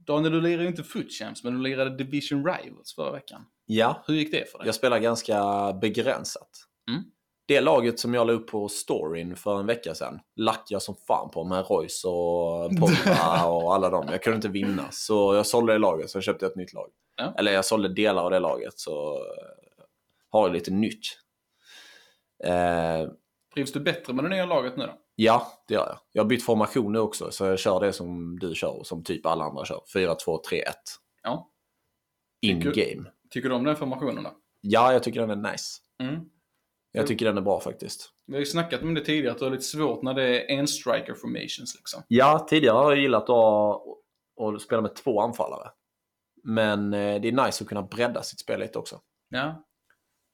Speaker 1: Daniel, du lirade ju inte Foot Champs, men du lirade Division Rivals förra veckan.
Speaker 3: Ja,
Speaker 1: Hur gick det för dig?
Speaker 3: jag spelar ganska begränsat.
Speaker 1: Mm.
Speaker 3: Det laget som jag la upp på storyn för en vecka sedan lackade jag som fan på med Royce och Pogba och alla dem. Jag kunde inte vinna, så jag sålde det laget, så köpte jag ett nytt lag.
Speaker 1: Ja.
Speaker 3: Eller jag sålde delar av det laget, så eh, har jag lite nytt. Eh,
Speaker 1: Trivs du bättre med det nya laget nu då?
Speaker 3: Ja, det gör jag. Jag har bytt formation nu också, så jag kör det som du kör och som typ alla andra kör. 4, 2, 3, 1.
Speaker 1: Ja.
Speaker 3: In
Speaker 1: Tycker-
Speaker 3: game.
Speaker 1: Tycker du om den formationen då?
Speaker 3: Ja, jag tycker den är nice.
Speaker 1: Mm.
Speaker 3: Jag tycker den är bra faktiskt.
Speaker 1: Vi har ju snackat om det tidigare, att det är lite svårt när det är en striker formations liksom.
Speaker 3: Ja, tidigare har jag gillat att, att spela med två anfallare. Men eh, det är nice att kunna bredda sitt spel lite också.
Speaker 1: Ja.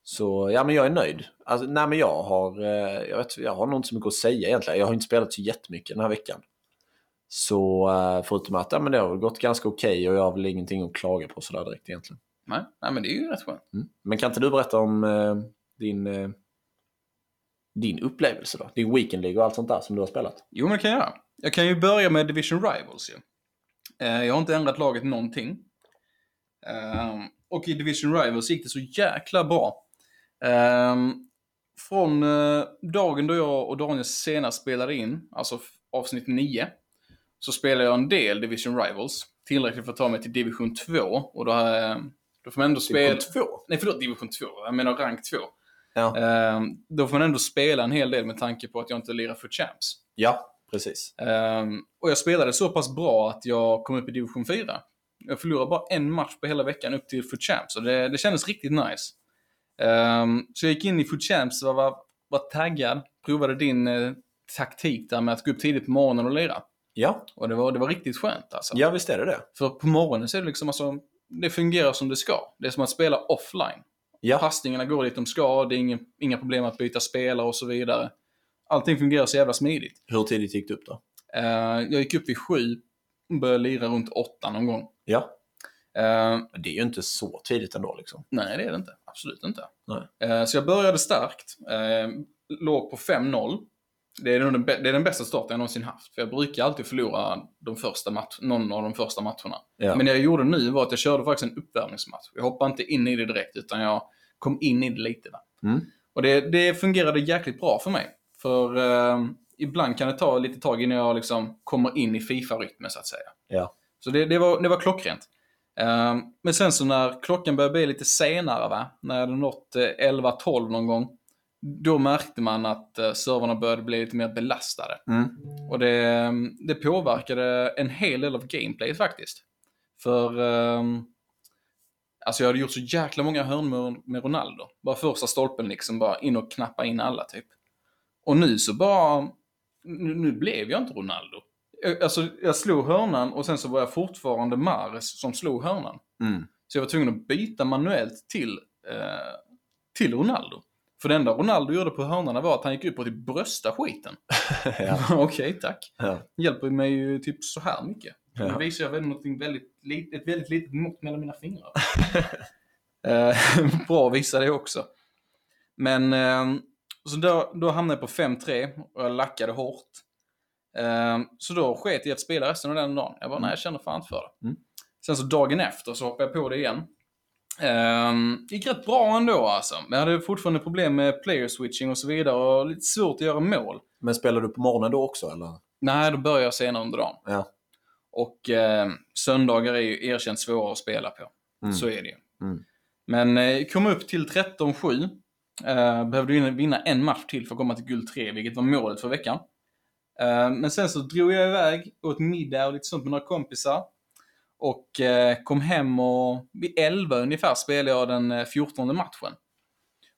Speaker 3: Så ja, men jag är nöjd. Alltså, nej, men jag har, eh, jag, vet, jag har nog inte så mycket att säga egentligen. Jag har inte spelat så jättemycket den här veckan. Så eh, förutom att ja, men det har väl gått ganska okej och jag har väl ingenting att klaga på sådär direkt egentligen.
Speaker 1: Nej, Nej men det är ju rätt skönt.
Speaker 3: Mm. Men kan inte du berätta om eh, din, eh, din upplevelse då? Din Weekend League och allt sånt där som du har spelat?
Speaker 1: Jo, men det kan jag göra. Jag kan ju börja med Division Rivals ju. Eh, Jag har inte ändrat laget någonting. Ehm, Och i Division Rivals gick det så jäkla bra. Ehm, Från eh, dagen då jag och Daniel senast spelade in, alltså f- avsnitt 9, så spelade jag en del Division Rivals. Tillräckligt för att ta mig till Division 2. Och då, eh, då får man ändå spela...
Speaker 3: Division 2?
Speaker 1: Nej, förlåt, Division 2. Jag menar rank 2.
Speaker 3: Ja.
Speaker 1: Ehm, Då får man ändå spela en hel del med tanke på att jag inte lirar för Champs.
Speaker 3: ja, precis.
Speaker 1: Ehm, och jag spelade så pass bra att jag kom upp i division 4. Jag förlorade bara en match på hela veckan upp till Foot Champs och det, det kändes riktigt nice. Ehm, så jag gick in i Foot Champs och var, var taggad, provade din eh, taktik där med att gå upp tidigt på morgonen och lira.
Speaker 3: Ja,
Speaker 1: Och det var, det var riktigt skönt alltså.
Speaker 3: ja visst är det det.
Speaker 1: För på morgonen så är det liksom alltså, det fungerar som det ska. Det är som att spela offline.
Speaker 3: Ja,
Speaker 1: Passningarna går dit de ska, det är inga, inga problem att byta spelare och så vidare. Allting fungerar så jävla smidigt.
Speaker 3: hur tidigt gick du upp då?
Speaker 1: Eh, jag gick upp vid sju och började lira runt åtta någon gång.
Speaker 3: Ja,
Speaker 1: Eh,
Speaker 3: Men det är ju inte så tidigt ändå liksom.
Speaker 1: nej, det är det inte. Absolut inte.
Speaker 3: Nej.
Speaker 1: Eh, så jag började starkt. Eh, låg på 5-0. Det är, nog den, bä- det är den bästa starten jag någonsin haft. För jag brukar alltid förlora de första match- någon av de första matcherna.
Speaker 3: Ja.
Speaker 1: Men det jag gjorde nu var att jag körde faktiskt en uppvärmningsmatch. Jag hoppade inte in i det direkt, utan jag kom in i det lite. Va?
Speaker 3: Mm.
Speaker 1: Och det, det fungerade jäkligt bra för mig. För eh, ibland kan det ta lite tag innan jag liksom kommer in i Fifa-rytmen, så att säga.
Speaker 3: Ja.
Speaker 1: Så det, det, var, det var klockrent. Ehm, men sen så när klockan började bli lite senare, va? när jag hade nått eh, 11-12 någon gång, då märkte man att eh, servrarna började bli lite mer belastade.
Speaker 3: Mm.
Speaker 1: Och det, ehm, det påverkade en hel del av gameplayet faktiskt. För ehm, alltså jag hade gjort så jäkla många hörnor med Ronaldo. Bara första stolpen liksom, bara in och knappa in alla typ. Och nu så bara, nu, nu blev jag inte Ronaldo. Jag- Alltså jag slog hörnan och sen så var jag fortfarande Mares som slog hörnan.
Speaker 3: Mm.
Speaker 1: Så jag var tvungen att byta manuellt till, eh, till Ronaldo. För det enda Ronaldo gjorde på hörnorna var att han gick upp och typ brösta skiten.
Speaker 3: ja.
Speaker 1: Okej, tack.
Speaker 3: Ja.
Speaker 1: Hjälper mig ju typ så här mycket.
Speaker 3: Ja.
Speaker 1: Nu visar jag väl någonting väldigt, lit- ett väldigt litet mått mellan mina fingrar. Eh, Bra visa det också. Men eh, så då, då hamnade jag på 5-3 och jag lackade hårt. Eh, Så då sket jag i att spela resten av den dagen. Jag bara, nej jag känner fan inte för det.
Speaker 3: Mm.
Speaker 1: Sen så dagen efter så hoppade jag på det igen. Ehm, gick rätt bra ändå alltså. Men jag hade fortfarande problem med player switching och så vidare och lite svårt att göra mål.
Speaker 3: Men spelar du på morgonen då också eller?
Speaker 1: Nej, då börjar jag senare under dagen.
Speaker 3: Ja.
Speaker 1: Och eh, söndagar är ju erkänt svåra att spela på.
Speaker 3: Mm.
Speaker 1: Så är det ju.
Speaker 3: Mm.
Speaker 1: Men eh, kom upp till 13-7. Eh, behövde ju vinna en match till för att komma till guld 3, vilket var målet för veckan. Eh, Men sen så drog jag iväg, åt middag och lite sånt med några kompisar. Och eh, kom hem och vid 11 ungefär spelade jag den eh, 14 matchen.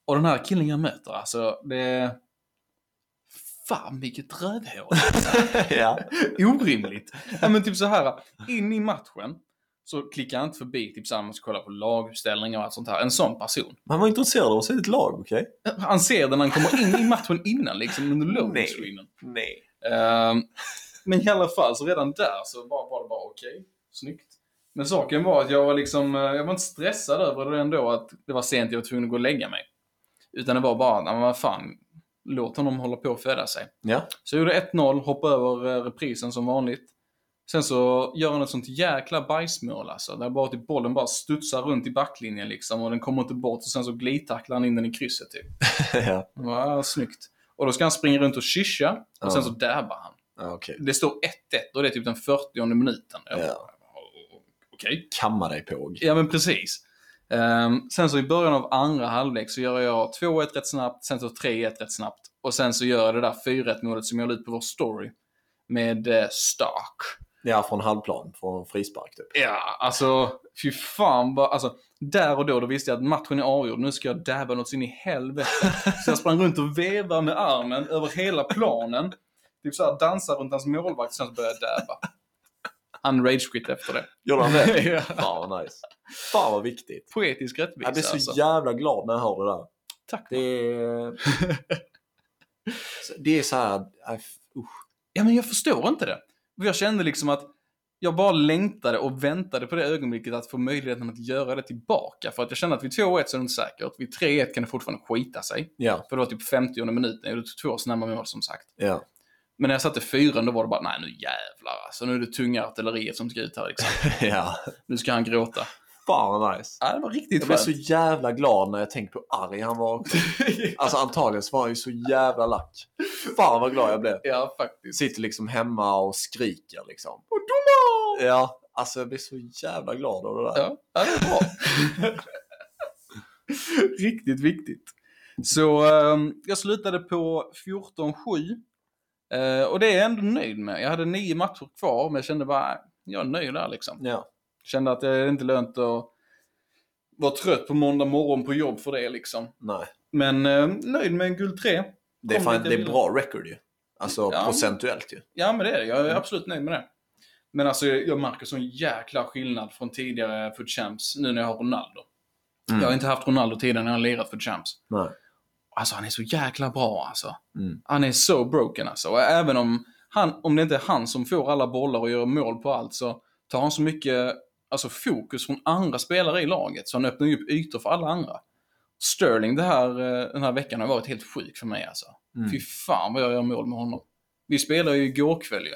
Speaker 1: Och den här killen jag möter alltså, det... Fan vilket rövhål!
Speaker 3: ja.
Speaker 1: Orimligt! ja, men typ så här, in i matchen så klickar jag inte förbi, typ så här, man ska kolla på laguppställningar och allt sånt här. En sån person.
Speaker 3: Man var intresserad av sitt lag, okej?
Speaker 1: Han ser den när han kommer in i matchen innan liksom, under
Speaker 3: Nej.
Speaker 1: loading-screenen.
Speaker 3: Nej.
Speaker 1: Ehm, men i alla fall, så redan där så var, var det bara okej. Snyggt. Men saken var att jag var liksom, eh, jag var inte stressad över det ändå att det var sent, jag var tvungen att gå och lägga mig. Utan det var bara, nej men vad fan, låt honom hålla på och föda sig.
Speaker 3: Ja.
Speaker 1: Så jag gjorde 1-0, hoppade över eh, reprisen som vanligt. Sen så gör han ett sånt jäkla bajsmål alltså. Där bara typ bollen bara studsar runt i backlinjen liksom och den kommer inte bort och sen så glidtacklar han in den i krysset typ.
Speaker 3: ja.
Speaker 1: Ja, snyggt. Och då ska han springa runt och kyscha och
Speaker 3: Ja.
Speaker 1: sen så dabbar han.
Speaker 3: ja okej.
Speaker 1: Det står 1-1 och det är typ den 40 minuten. Jag bara,
Speaker 3: Ja.
Speaker 1: Okej.
Speaker 3: Kamma dig påg.
Speaker 1: Ja, men precis. Ehm, sen så i början av andra halvlek så gör jag 2-1 rätt snabbt, sen så 3-1 rätt snabbt. Och sen så gör jag det där 4-1 målet som jag la ut på vår story. Med eh, Stark.
Speaker 3: Ja, från halvplan. Från frispark typ.
Speaker 1: Ja, alltså fy fan vad, alltså där och då, då visste jag att matchen är avgjord. Nu ska jag dabba något så in i helvete. Så jag sprang runt och vevade med armen över hela planen. Typ såhär dansade runt hans målvakt, sen så började jag dabba. Han ragequit efter det.
Speaker 3: Gjorde han det?
Speaker 1: Ja.
Speaker 3: Fan vad nice. Fan vad viktigt.
Speaker 1: Poetisk rättvisa
Speaker 3: Jag blir så
Speaker 1: alltså.
Speaker 3: jävla glad när jag hör det där.
Speaker 1: Tack.
Speaker 3: Det är... Så det är så här... nej, f- Usch.
Speaker 1: Ja, men jag förstår inte det. För Jag kände liksom att jag bara längtade och väntade på det ögonblicket att få möjligheten att göra det tillbaka. För att jag kände att vid 2-1 så är det inte säkert. Vid 3-1 kan det fortfarande skita sig.
Speaker 3: Ja,
Speaker 1: För det var typ 50 minuten. Jag gjorde två snabba mål som sagt.
Speaker 3: ja.
Speaker 1: Men när jag satte fyran då var det bara, nej nu jävlar alltså. Nu är det tunga artilleriet som ska ut här liksom.
Speaker 3: ja.
Speaker 1: Nu ska han gråta.
Speaker 3: Fan vad nice.
Speaker 1: Ja, det var riktigt
Speaker 3: Jag blev
Speaker 1: skönt.
Speaker 3: så jävla glad när jag tänkte på hur arg han var också. Alltså antagligen så var han ju så jävla lack. Fan vad glad jag blev.
Speaker 1: ja, faktiskt.
Speaker 3: Sitter liksom hemma och skriker liksom.
Speaker 1: Och domar!
Speaker 3: Ja, alltså jag blev så jävla glad av det där.
Speaker 1: Ja, ja, det är bra. Riktigt viktigt. Så ehm, jag slutade på 14-7. Eh, och det är jag ändå nöjd med. Jag hade nio matcher kvar, men jag kände bara, äh, jag är nöjd där liksom.
Speaker 3: Ja,
Speaker 1: Kände att det är inte lönt att vara trött på måndag morgon på jobb för det liksom.
Speaker 3: nej.
Speaker 1: Men eh, nöjd med en guld 3.
Speaker 3: Det är,
Speaker 1: Kom
Speaker 3: fan,
Speaker 1: lite
Speaker 3: det är
Speaker 1: vidare.
Speaker 3: bra record ju. Alltså
Speaker 1: Ja.
Speaker 3: procentuellt ju.
Speaker 1: Ja, men det är det. Jag är
Speaker 3: Mm.
Speaker 1: absolut nöjd med det. Men alltså, jag märker sån jäkla skillnad från tidigare Foot Champs nu när jag har Ronaldo.
Speaker 3: Mm.
Speaker 1: Jag har inte haft Ronaldo tidigare när jag har lirat Foot Champs.
Speaker 3: Nej.
Speaker 1: Alltså han är så jäkla bra alltså.
Speaker 3: Mm.
Speaker 1: Han är så broken alltså. Och även om, han, om det inte är han som får alla bollar och gör mål på allt så tar han så mycket alltså, fokus från andra spelare i laget så han öppnar ju upp ytor för alla andra. Sterling det här, eh, den här veckan har varit helt sjuk för mig alltså.
Speaker 3: Mm.
Speaker 1: Fy fan vad jag gör mål med honom. Vi spelade ju igår kväll ju.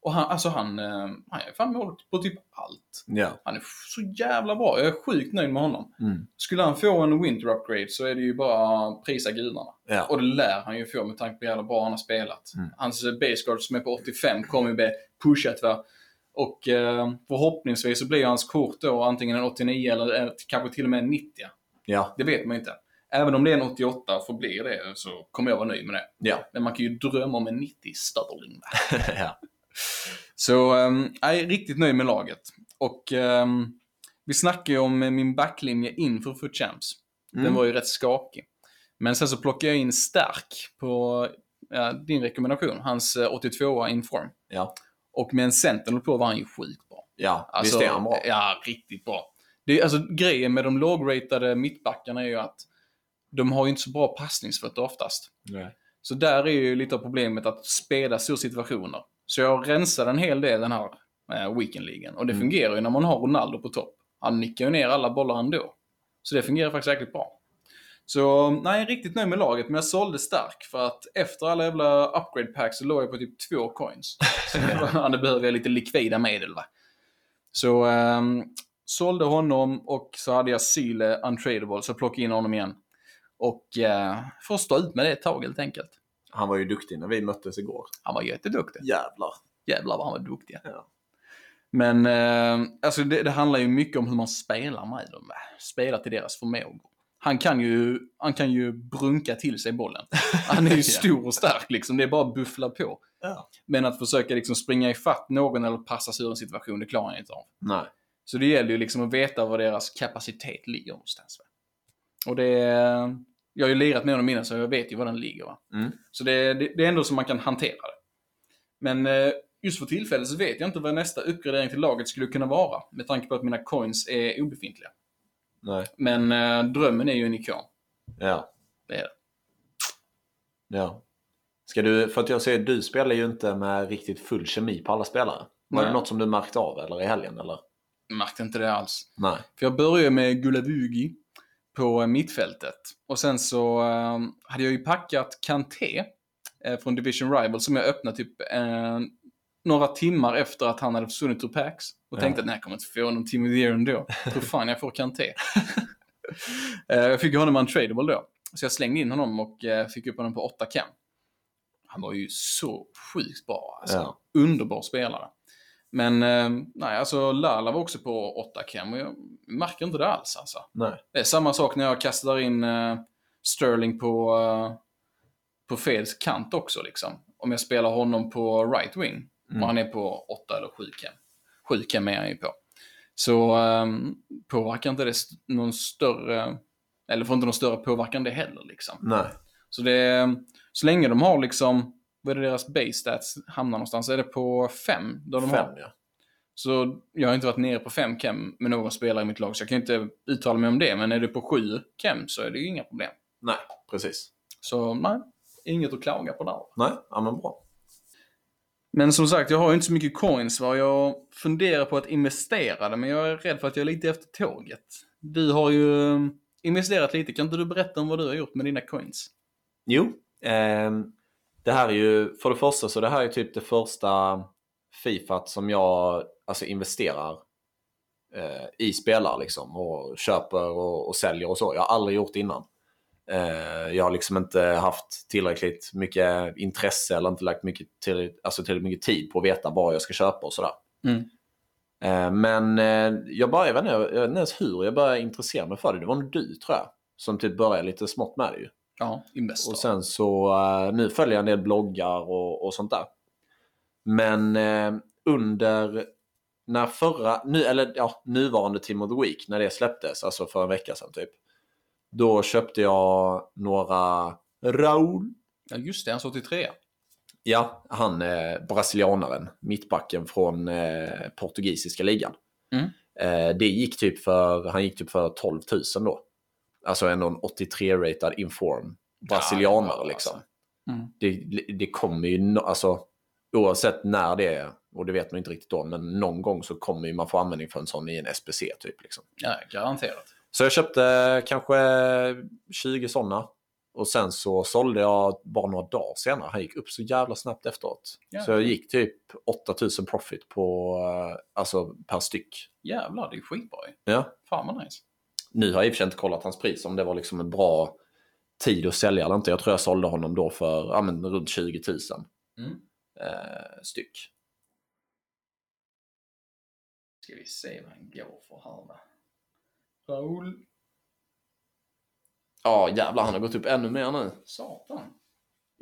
Speaker 1: Och han, alltså han, eh, han gör fan mål på typ allt.
Speaker 3: Ja.
Speaker 1: Han är så jävla bra. Jag är sjukt nöjd med honom.
Speaker 3: Mm.
Speaker 1: Skulle han få en winter upgrade så är det ju bara prisa gudarna.
Speaker 3: Ja.
Speaker 1: Och det lär han ju få med tanke på hur jävla bra han har spelat.
Speaker 3: Mm.
Speaker 1: Hans eh, baseguard som är på 85 kommer ju bli pushat va. Och eh, förhoppningsvis så blir ju hans kort då antingen en 89 eller eh, kanske till och med en 90.
Speaker 3: ja,
Speaker 1: Det vet man ju inte. Även om det är en 88 och förblir det så kommer jag vara nöjd med det.
Speaker 3: ja,
Speaker 1: Men man kan ju drömma om en 90 Sterling. va.
Speaker 3: ja.
Speaker 1: Så ehm, jag är riktigt nöjd med laget. Och ehm, vi snackade ju om eh, min backlinje inför Foot Champs. Den
Speaker 3: Mm.
Speaker 1: var ju rätt skakig. Men sen så plockade jag in Stark på ja, din rekommendation, hans eh, 82a inform.
Speaker 3: Ja,
Speaker 1: Och med en Sentinel på var han ju sjukt bra.
Speaker 3: ja.
Speaker 1: Alltså,
Speaker 3: visst är han bra.
Speaker 1: Ja, riktigt bra. Det är, alltså, grejen med de lågratade mittbackarna är ju att de har ju inte så bra passningsfötter oftast.
Speaker 3: Nej.
Speaker 1: Så där är ju lite av problemet att spela stora situationer. Så jag rensade en hel del den här eh, weekendligan. Och det
Speaker 3: Mm.
Speaker 1: fungerar ju när man har Ronaldo på topp. Han nickar ju ner alla bollar ändå. Så det fungerar faktiskt jäkligt bra. Så nej, jag är riktigt nöjd med laget, men jag sålde stark för att efter alla jävla upgrade packs så låg jag på typ två coins. Så fan, det behöver jag lite likvida medel va. Så um, sålde honom och så hade jag Syle untradable, så jag plockade in honom igen. Och eh, får stå ut med det ett tag helt enkelt.
Speaker 3: Han var ju duktig när vi möttes igår.
Speaker 1: Han var jätteduktig.
Speaker 3: Jävlar.
Speaker 1: Jävlar vad han var duktig.
Speaker 3: Ja.
Speaker 1: Men eh, alltså det, det handlar ju mycket om hur man spelar med dem. va? Spela till deras förmågor. Han kan ju, han kan ju brunka till sig bollen. Han är ju
Speaker 3: Ja.
Speaker 1: stor och stark liksom. Det är bara att buffla på.
Speaker 3: Ja.
Speaker 1: Men att försöka liksom springa ifatt någon eller passa sig ur en situation, det klarar han inte av.
Speaker 3: Nej.
Speaker 1: Så det gäller ju liksom att veta var deras kapacitet ligger någonstans. Va? Och det... är- Jag har ju lirat med honom innan så jag vet ju var den ligger. Va?
Speaker 3: Mm.
Speaker 1: Så det, det, det är ändå som man kan hantera det. Men eh, just för tillfället så vet jag inte vad nästa uppgradering till laget skulle kunna vara. Med tanke på att mina coins är obefintliga.
Speaker 3: Nej.
Speaker 1: Men eh, drömmen är ju en ikon.
Speaker 3: Ja.
Speaker 1: Det är det.
Speaker 3: Ja. Ska du, för att jag ser, du spelar ju inte med riktigt full kemi på alla spelare. Var
Speaker 1: Nej.
Speaker 3: det något som du märkte av eller i helgen eller?
Speaker 1: Jag märkte inte det alls.
Speaker 3: Nej.
Speaker 1: För jag började med Gulabugi på eh, mittfältet. Och sen så eh, hade jag ju packat Kanté eh, från Division Rival som jag öppnade typ eh, några timmar efter att han hade försvunnit ur PAX. Och
Speaker 3: Ja.
Speaker 1: tänkte att nej, jag kommer inte få någon Timmy Deer ändå. Tror fan jag får Kanté. eh, jag fick ju honom untradeable då. Så jag slängde in honom och eh, fick upp honom på 8k. Han var ju så sjukt bra. Alltså.
Speaker 3: Ja.
Speaker 1: Underbar spelare. Men eh, nej, alltså Lala var också på 8 cam och jag märker inte det alls. Alltså.
Speaker 3: Nej.
Speaker 1: Det är samma sak när jag kastar in eh, Sterling på, eh, på fel kant också. Liksom. Om jag spelar honom på right wing och han är på 8 eller 7 cam. 7 cam är han ju på. Så eh, påverkar inte det st- någon större, eller får inte någon större påverkan det heller. Liksom.
Speaker 3: Nej.
Speaker 1: Så det, så länge de har liksom, vad är det deras base stats hamnar någonstans? Är det på fem? Då de
Speaker 3: Fem
Speaker 1: Har?
Speaker 3: ja.
Speaker 1: Så jag har inte varit nere på fem cam med någon spelare i mitt lag, så jag kan inte uttala mig om det. Men är det på sju cam så är det ju inga problem.
Speaker 3: Nej, precis.
Speaker 1: Så nej, inget att klaga på där.
Speaker 3: Nej, ja men bra.
Speaker 1: Men som sagt, jag har ju inte så mycket coins va. Jag funderar på att investera det, men jag är rädd för att jag är lite efter tåget. Du har ju eh, investerat lite. Kan inte du berätta om vad du har gjort med dina coins?
Speaker 3: Jo, ehm, det här är ju, för det första så det här är typ det första Fifa som jag alltså investerar eh, i spelare liksom och köper och, och säljer och så. Jag har aldrig gjort det innan. Eh, jag har liksom inte haft tillräckligt mycket intresse eller inte lagt mycket till, alltså tillräckligt mycket tid på att veta vad jag ska köpa och sådär.
Speaker 1: Mm.
Speaker 3: Eh, men eh, jag började, jag vet, inte, jag vet inte ens hur, jag började intressera mig för det. Det var nog du tror jag som typ började lite smått med det ju.
Speaker 1: Ja, Investor.
Speaker 3: Och sen så, eh, nu följer jag en del bloggar och, och sånt där. Men eh, under, när förra, nu, eller ja, nuvarande Team of the Week, när det släpptes, alltså för en vecka sedan typ. Då köpte jag några Raul.
Speaker 1: Ja, just det. Han står till trea.
Speaker 3: Ja, han eh, brasilianaren, mittbacken från eh, portugisiska ligan.
Speaker 1: Mm.
Speaker 3: Eh, det gick typ för, han gick typ för 12 000 då. Alltså ändå en 83-ratad inform brasilianare
Speaker 1: Ja, det var
Speaker 3: liksom.
Speaker 1: alltså. Mm.
Speaker 3: Det, det kommer ju, no- alltså oavsett när det är, och det vet man inte riktigt då, men någon gång så kommer ju man få användning för en sån i en SPC typ. Liksom.
Speaker 1: Ja, garanterat.
Speaker 3: Så jag köpte kanske 20 sådana. Och sen så sålde jag bara några dagar senare. Han gick upp så jävla snabbt efteråt.
Speaker 1: Ja.
Speaker 3: Så jag gick typ 8000 profit på, eh, alltså, per styck.
Speaker 1: Jävlar, det är skitbra ju.
Speaker 3: Ja.
Speaker 1: Fan vad nice.
Speaker 3: Nu har jag i och för sig inte kollat hans pris om det var liksom en bra tid att sälja eller inte. Jag tror jag sålde honom då för ja, men, runt 20 000
Speaker 1: Mm.
Speaker 3: eh, styck.
Speaker 1: Ska vi se vad han går för här va. Raoul
Speaker 3: Ja jävlar han har gått upp ännu mer nu.
Speaker 1: Satan.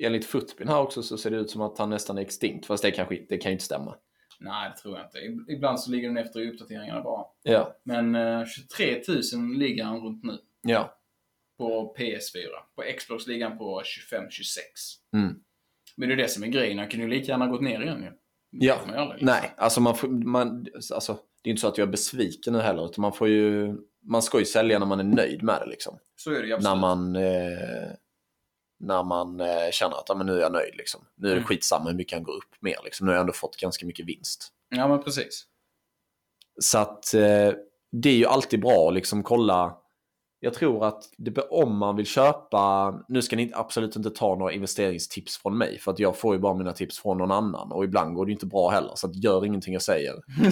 Speaker 3: Enligt Footbin här också så ser det ut som att han nästan är extinkt. Fast det, kanske, det kan ju inte stämma.
Speaker 1: Nej, det tror jag inte. Ib- Ibland så ligger den efter i uppdateringarna bara.
Speaker 3: Ja.
Speaker 1: Men eh, 23 000 ligger han runt nu
Speaker 3: ja.
Speaker 1: på PS4. På Xbox ligger han på 25-26.
Speaker 3: Mm.
Speaker 1: Men det är det som är grejen. Han kunde ju lika gärna gått ner igen ju. Det
Speaker 3: Ja.
Speaker 1: vet man ju aldrig, liksom.
Speaker 3: Nej, alltså, man får, man, alltså det är inte så att jag är besviken nu heller. Utan man, får ju, man ska ju sälja när man är nöjd med det. Liksom.
Speaker 1: Så är det ju absolut.
Speaker 3: När man, eh, när man eh, känner att ah, men nu är jag nöjd. Liksom. Nu är det
Speaker 1: Mm.
Speaker 3: skitsamma hur mycket han går upp med. Liksom. Nu har jag ändå fått ganska mycket vinst.
Speaker 1: Ja, men precis.
Speaker 3: Så att eh, det är ju alltid bra att liksom kolla. Jag tror att det, be- om man vill köpa, nu ska ni inte- absolut inte ta några investeringstips från mig för att jag får ju bara mina tips från någon annan och ibland går det ju inte bra heller så att gör ingenting jag säger.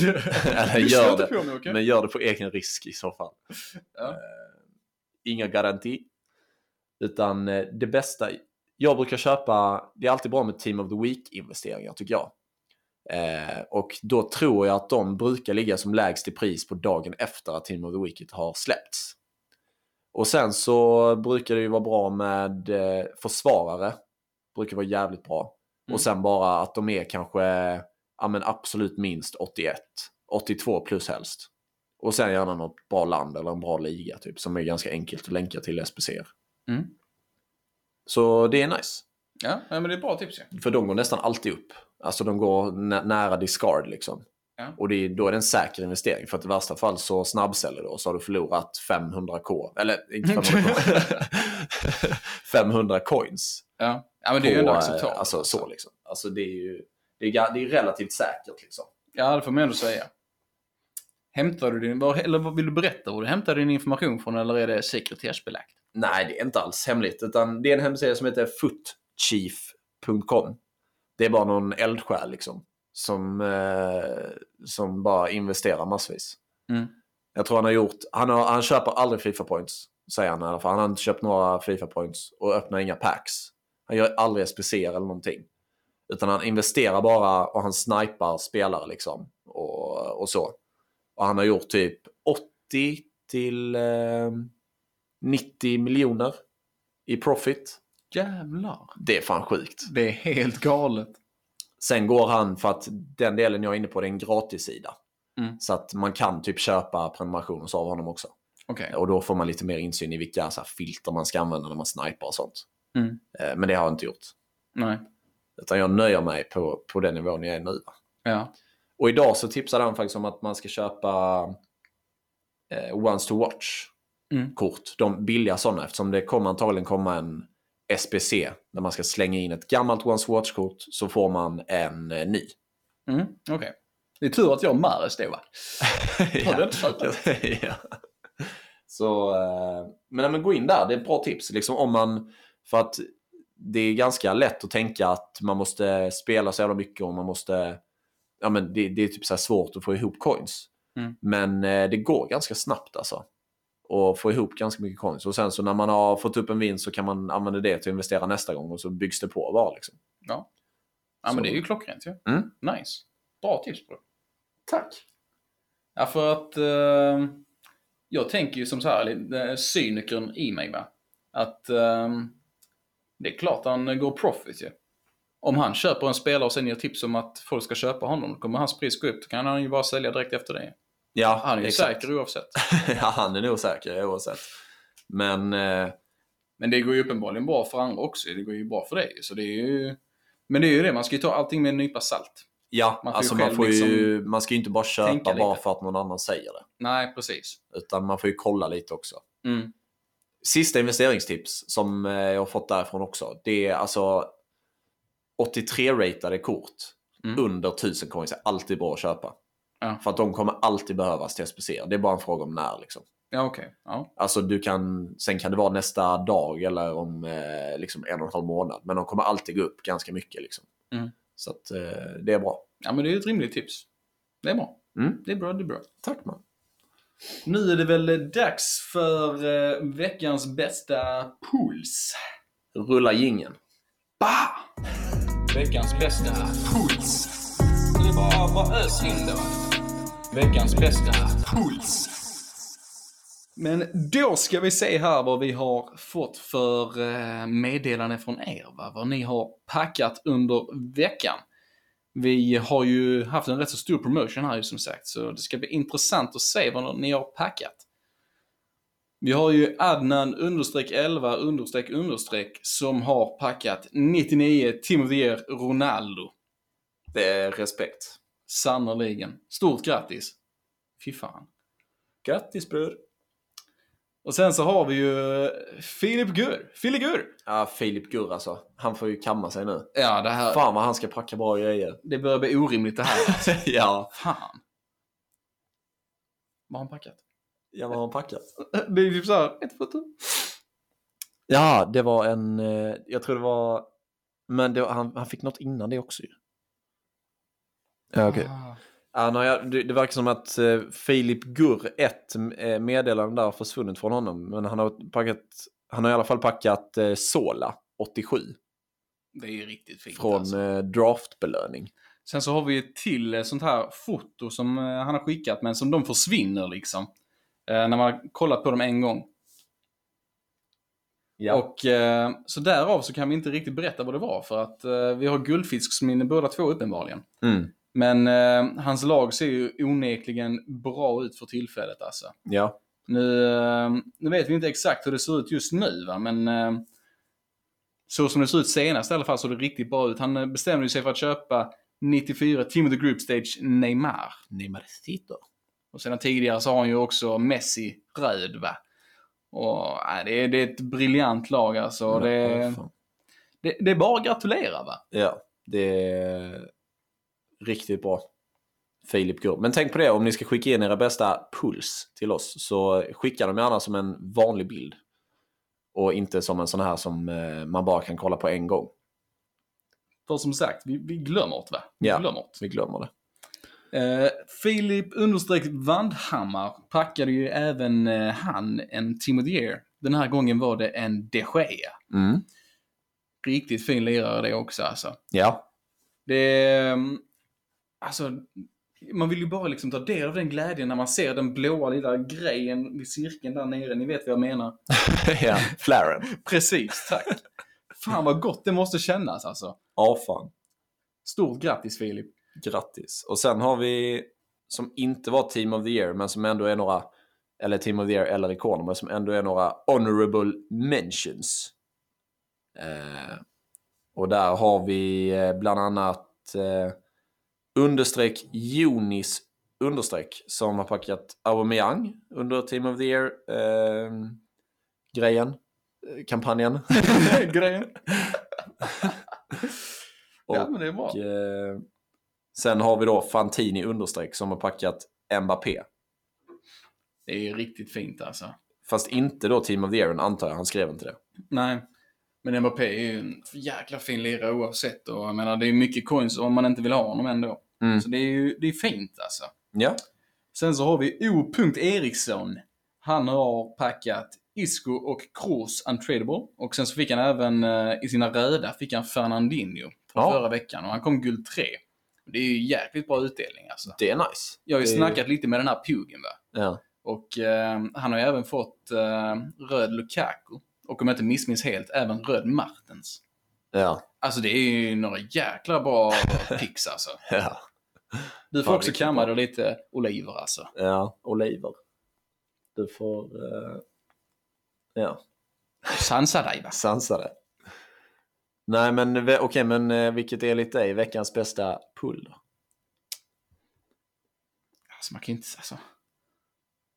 Speaker 3: Eller
Speaker 1: Lyssna
Speaker 3: gör
Speaker 1: inte
Speaker 3: det,
Speaker 1: på mig, okej?
Speaker 3: men gör det på egen risk i så fall.
Speaker 1: Ja.
Speaker 3: Eh, inga garanti. Utan eh, det bästa, jag brukar köpa, det är alltid bra med Team of the Week-investeringar tycker jag. Eh, och då tror jag att de brukar ligga som lägst i pris på dagen efter att Team of the Week har släppts. Och sen så brukar det ju vara bra med eh, försvarare. Brukar vara jävligt bra.
Speaker 1: Mm.
Speaker 3: Och sen bara att de är kanske ja, men absolut minst 81, 82 plus helst. Och sen gärna något bra land eller en bra liga typ som är ganska enkelt att länka till SPC.
Speaker 1: Mm.
Speaker 3: Så det är nice.
Speaker 1: Ja, ja, men det är bra tips ju.
Speaker 3: För de går nästan alltid upp. Alltså de går nä- nära discard liksom.
Speaker 1: Ja.
Speaker 3: Och det är, då är det en säker investering. För att i värsta fall så snabbsäljer du och så har du förlorat 500k. Eller inte 500k. 500 coins.
Speaker 1: Ja. ja, men det är ju ändå
Speaker 3: på, eh,
Speaker 1: acceptabelt.
Speaker 3: Alltså så liksom. Alltså det är ju det är, ga- det är relativt säkert liksom.
Speaker 1: Ja, det får man ändå säga. Hämtar du din, var, eller vad vill du berätta var du hämtade din information från eller är det sekretessbelagt?
Speaker 3: Nej, det är inte alls hemligt. Utan det är en hemsida som heter footchief.com. Det är bara någon eldsjäl liksom. Som, eh, som bara investerar massvis.
Speaker 1: Mm.
Speaker 3: Jag tror han har gjort, han, har, han köper aldrig Fifa points. Säger han i alla fall. Han har inte köpt några Fifa points och öppnar inga packs. Han gör aldrig SPC eller någonting. Utan han investerar bara och han snipar spelare liksom. Och, och så. Och han har gjort typ 80 till eh, 90 miljoner i profit.
Speaker 1: Jävlar.
Speaker 3: Det är fan sjukt.
Speaker 1: Det är helt galet.
Speaker 3: Sen går han för att den delen jag är inne på det är en gratissida.
Speaker 1: Mm.
Speaker 3: Så att man kan typ köpa prenumerationer så av honom också.
Speaker 1: Okej.
Speaker 3: Och då får man lite mer insyn i vilka så här, filter man ska använda när man snipar och sånt.
Speaker 1: Mm.
Speaker 3: Eh, Men det har jag inte gjort.
Speaker 1: Nej.
Speaker 3: Utan jag nöjer mig på, på den nivån jag är nu. va.
Speaker 1: Ja.
Speaker 3: Och idag så tipsade han faktiskt om att man ska köpa eh, Once to
Speaker 1: Mm.
Speaker 3: Watch-kort. De billiga sådana eftersom det kommer antagligen komma en SPC när man ska slänga in ett gammalt Once to Watch-kort så får man en eh, ny.
Speaker 1: Mm. Okej. Det är tur att jag och Mares det va? Har du inte fattat?
Speaker 3: ja. Så, eh, men, nej, men gå in där, det är ett bra tips. Liksom om man, för att det är ganska lätt att tänka att man måste spela så jävla mycket och man måste... Ja, men det, det är typ så här svårt att få ihop coins.
Speaker 1: Mm.
Speaker 3: Men eh, det går ganska snabbt alltså. Och få ihop ganska mycket coins. Och sen så när man har fått upp en vinst så kan man använda det till att investera nästa gång och så byggs det på bara. Liksom.
Speaker 1: Ja. Ja,
Speaker 3: Så.
Speaker 1: men det är ju klockrent ju.
Speaker 3: Mm.
Speaker 1: Nice. Bra tips bro.
Speaker 3: Tack!
Speaker 1: Ja, för att eh, jag tänker ju som så här, eh, cynikern i mig va. Att eh, det är klart han går profit ju. Om han köper en spelare och sen ger tips om att folk ska köpa honom, då kommer hans pris gå upp. Då kan han ju bara sälja direkt efter det.
Speaker 3: Ja,
Speaker 1: Han är ju
Speaker 3: exakt.
Speaker 1: säker oavsett.
Speaker 3: ja, han är nog säker oavsett. Men eh,
Speaker 1: Men det går ju uppenbarligen bra för andra också. Det går ju bra för dig. Så det är ju... Men det är ju det, man ska ju ta allting med en nypa salt.
Speaker 3: Ja,
Speaker 1: Man får ju
Speaker 3: alltså man,
Speaker 1: själv
Speaker 3: får ju,
Speaker 1: liksom
Speaker 3: man ska ju inte bara köpa
Speaker 1: tänka
Speaker 3: bara
Speaker 1: lite.
Speaker 3: för att någon annan säger det.
Speaker 1: Nej, precis.
Speaker 3: Utan man får ju kolla lite också.
Speaker 1: Mm.
Speaker 3: Sista investeringstips som eh, jag har fått därifrån också. Det är alltså 83-ratade kort
Speaker 1: Mm.
Speaker 3: under 1000 coins är alltid bra att köpa.
Speaker 1: Ja.
Speaker 3: För att de kommer alltid behövas till SPC. Det är bara en fråga om när. Liksom.
Speaker 1: Ja, okej. Ja.
Speaker 3: Alltså du kan, sen kan det vara nästa dag eller om eh, liksom en och en halv månad. Men de kommer alltid gå upp ganska mycket. Liksom.
Speaker 1: Mm.
Speaker 3: Så att, eh, det är bra.
Speaker 1: ja, men det är ju ett rimligt tips. Det är bra.
Speaker 3: Mm.
Speaker 1: Det är bra, det är bra.
Speaker 3: Tack man.
Speaker 1: Nu är det väl dags för eh, veckans bästa puls.
Speaker 3: Rulla gingen.
Speaker 1: Bah! Veckans bästa puls. Det är bara, bara ös in det. Veckans bästa puls. Men då ska vi se här vad vi har fått för eh, meddelande från er. Va? Vad ni har packat under veckan. Vi har ju haft en rätt så stor promotion här ju som sagt, så det ska bli intressant att se vad ni har packat. Vi har ju Adnan understreck 11 understreck understreck som har packat 99 Team of the Year Ronaldo.
Speaker 3: Det är respekt.
Speaker 1: Sannerligen. Stort grattis! Fy fan.
Speaker 3: Grattis bror!
Speaker 1: Och sen så har vi ju eh, Filip Gur. Filigur!
Speaker 3: Ja, Filip Gurr alltså. Han får ju kamma sig nu.
Speaker 1: Ja, det här...
Speaker 3: Fan vad han ska packa bra grejer.
Speaker 1: Det börjar bli orimligt det här.
Speaker 3: ja,
Speaker 1: fan. Vad har han packat?
Speaker 3: ja, vad har han packat?
Speaker 1: Det är typ såhär, ett foto.
Speaker 3: Ja, det var en... eh, Jag tror det var... Men det var, han, han fick något innan det också ju. Ja, okej.
Speaker 1: Ah.
Speaker 3: Ja, nej, jag- det, det verkar som att eh, Filip Gurr, ett eh, meddelande där har försvunnit från honom. Men han har, packat, han har i alla fall packat eh, Sola, 87,
Speaker 1: Det är ju riktigt fint
Speaker 3: från
Speaker 1: alltså.
Speaker 3: eh, draftbelöning.
Speaker 1: Sen så har vi ett till eh, sånt här foto som eh, han har skickat, men som de försvinner liksom. Eh, när man kollat på dem en gång.
Speaker 3: Ja.
Speaker 1: Och, eh, så därav så kan vi inte riktigt berätta vad det var för att eh, vi har guldfisksminne båda två uppenbarligen.
Speaker 3: Mm.
Speaker 1: Men eh, hans lag ser ju onekligen bra ut för tillfället alltså.
Speaker 3: Ja.
Speaker 1: Nu, eh, nu vet vi inte exakt hur det ser ut just nu, va? men eh, så som det ser ut senast i alla fall såg det riktigt bra ut. Han eh, bestämde ju sig för att köpa 94 Team of the Group Stage Neymar.
Speaker 3: Neymarcito.
Speaker 1: Och sedan tidigare så har han ju också Messi röd. Va? Och, nej, det, är, det är ett briljant lag alltså. Det, det, det är bara att gratulera. Va?
Speaker 3: Ja, det är riktigt bra. Filip Gur. Men tänk på det, om ni ska skicka in era bästa puls till oss så skicka dem gärna som en vanlig bild. Och inte som en sån här som eh, man bara kan kolla på en gång.
Speaker 1: För som sagt, vi, vi glömmer det. Va? Vi
Speaker 3: Ja.
Speaker 1: glömmer det.
Speaker 3: Vi glömmer det.
Speaker 1: Eh, Filip understreck Vandhammar packade ju även eh, han en Team of the Year. Den här gången var det en De Gea.
Speaker 3: Mm.
Speaker 1: Riktigt fin lirare det också alltså.
Speaker 3: Ja.
Speaker 1: Det är, eh, alltså, man vill ju bara liksom ta del av den glädjen när man ser den blåa lilla grejen vid cirkeln där nere. Ni vet vad jag menar.
Speaker 3: ja. Flaren.
Speaker 1: Precis, tack. Fan vad gott det måste kännas alltså.
Speaker 3: Ja, fan.
Speaker 1: Stort grattis Filip.
Speaker 3: Grattis. Och sen har vi, som inte var Team of the Year, men som ändå är några, eller Team of the Year eller ikoner, men som ändå är några honorable mentions. Eh, och där har vi eh, bland annat eh, understreck Jonis understreck som har packat Aubameyang under Team of the Year eh, grejen, eh, kampanjen.
Speaker 1: grejen.
Speaker 3: Och-
Speaker 1: ja men det är bra.
Speaker 3: Och, eh, sen har vi då Fantini understreck som har packat Mbappé.
Speaker 1: Det är ju riktigt fint alltså.
Speaker 3: Fast inte då Team of the Year antar jag, han skrev inte det.
Speaker 1: Nej. Men Mbappé är ju en jäkla fin lirare oavsett och jag menar det är mycket coins om man inte vill ha honom ändå.
Speaker 3: Mm.
Speaker 1: Så det är ju det är fint alltså.
Speaker 3: Ja,
Speaker 1: Sen så har vi O. Eriksson. Han har packat Isco och Kroos untradable. Och sen så fick han även eh, i sina röda fick han Fernandinho från
Speaker 3: Ja.
Speaker 1: förra veckan och han kom guld 3. Det är ju jäkligt bra utdelning alltså.
Speaker 3: det är nice.
Speaker 1: Jag har ju
Speaker 3: Det är-
Speaker 1: snackat lite med den här Pugen va.
Speaker 3: Ja.
Speaker 1: Och eh, han har ju även fått eh, röd Lukaku. Och om jag inte missminns helt, även röd Martens.
Speaker 3: Ja.
Speaker 1: Alltså det är ju några jäkla bra picks alltså.
Speaker 3: ja.
Speaker 1: Du får
Speaker 3: Fan,
Speaker 1: också
Speaker 3: vilken
Speaker 1: kamma
Speaker 3: bra.
Speaker 1: dig lite oliver alltså.
Speaker 3: Ja, oliver. Du får... eh, Ja,
Speaker 1: Sansa dig va?
Speaker 3: sansa det. Nej, men ve- okej, men eh, vilket är lite dig veckans bästa pull då?
Speaker 1: Alltså man kan ju inte, alltså.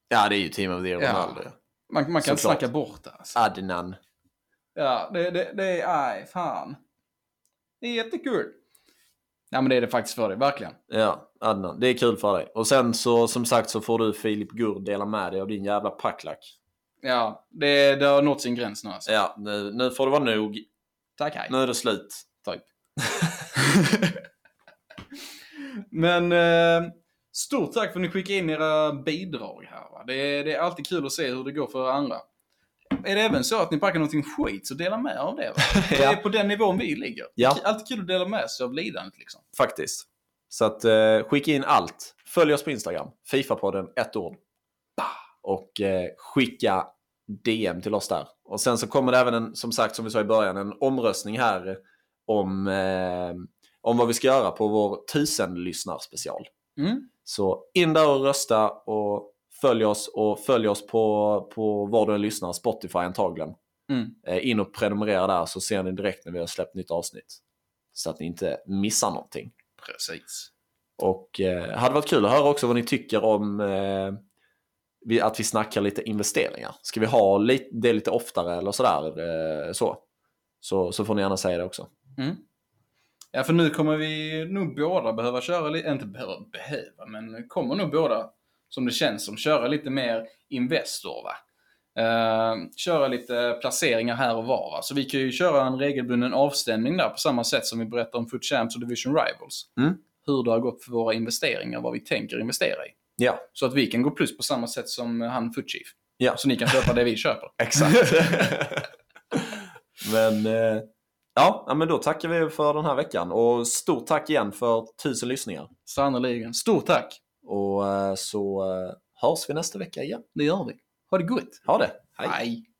Speaker 3: Ja, det är ju Team of the Year
Speaker 1: Ja.
Speaker 3: Ronaldo. Ja.
Speaker 1: Man, man kan inte
Speaker 3: Såklart.
Speaker 1: snacka bort det alltså.
Speaker 3: Adnan.
Speaker 1: Ja, det, det, det är, aj, fan. Det är jättekul. Nej men det är det faktiskt för dig, verkligen.
Speaker 3: Ja, Adnan. Det är kul för dig. Och sen så, som sagt, så får du Filip Gurd dela med dig av din jävla packlack.
Speaker 1: Ja, det, det har nått sin gräns nu alltså.
Speaker 3: Ja, nu, nu får det vara nog.
Speaker 1: Tack, hej.
Speaker 3: Nu är det slut.
Speaker 1: Typ. Men eh, stort tack för att ni skickade in era bidrag här. Va? Det, är, det är alltid kul att se hur det går för andra. Är det även så att ni packar någonting skit så dela med er av det. Va? Det är på den nivån vi ligger.
Speaker 3: Ja.
Speaker 1: Det är Alltid kul att dela med sig av lidandet liksom.
Speaker 3: Faktiskt. Så att eh, skicka in allt. Följ oss på Instagram. Fifa-podden, ett ord. Bah! Och eh, skicka DM till oss där. Och sen så kommer det även en, som sagt, som vi sa i början, en omröstning här om, eh, om vad vi ska göra på vår tusen lyssnarspecial.
Speaker 1: Mm.
Speaker 3: Så in där och rösta och följ oss och följ oss på, på var du än lyssnar, Spotify antagligen.
Speaker 1: Mm.
Speaker 3: Eh, in och prenumerera där så ser ni direkt när vi har släppt nytt avsnitt. Så att ni inte missar någonting.
Speaker 1: Precis.
Speaker 3: Och eh, hade varit kul att höra också vad ni tycker om eh, vi, att vi snackar lite investeringar. Ska vi ha lite, det lite oftare eller sådär? Eh, så. Så, så får ni gärna säga det också.
Speaker 1: Mm. Ja, för nu kommer vi nog båda behöva köra lite, inte behöva, behöva, men kommer nog båda, som det känns som, köra lite mer Investor, va? Eh, köra lite placeringar här och var, va? Så vi kan ju köra en regelbunden avstämning där på samma sätt som vi berättar om Foot Champs och Division Rivals.
Speaker 3: Mm.
Speaker 1: Hur det har gått för våra investeringar, vad vi tänker investera i.
Speaker 3: Ja, så
Speaker 1: Så att vi kan gå plus på samma sätt som han Foot Chief.
Speaker 3: Ja.
Speaker 1: Så ni kan köpa det vi köper.
Speaker 3: exakt. men, eh, ja, ja, men då tackar vi för den här veckan och stort tack igen för tusen lyssningar.
Speaker 1: Sannerligen. Stort tack!
Speaker 3: Och eh, så eh, hörs vi nästa vecka igen.
Speaker 1: Det gör vi. Ha det gott!
Speaker 3: Ha det!
Speaker 1: Hej.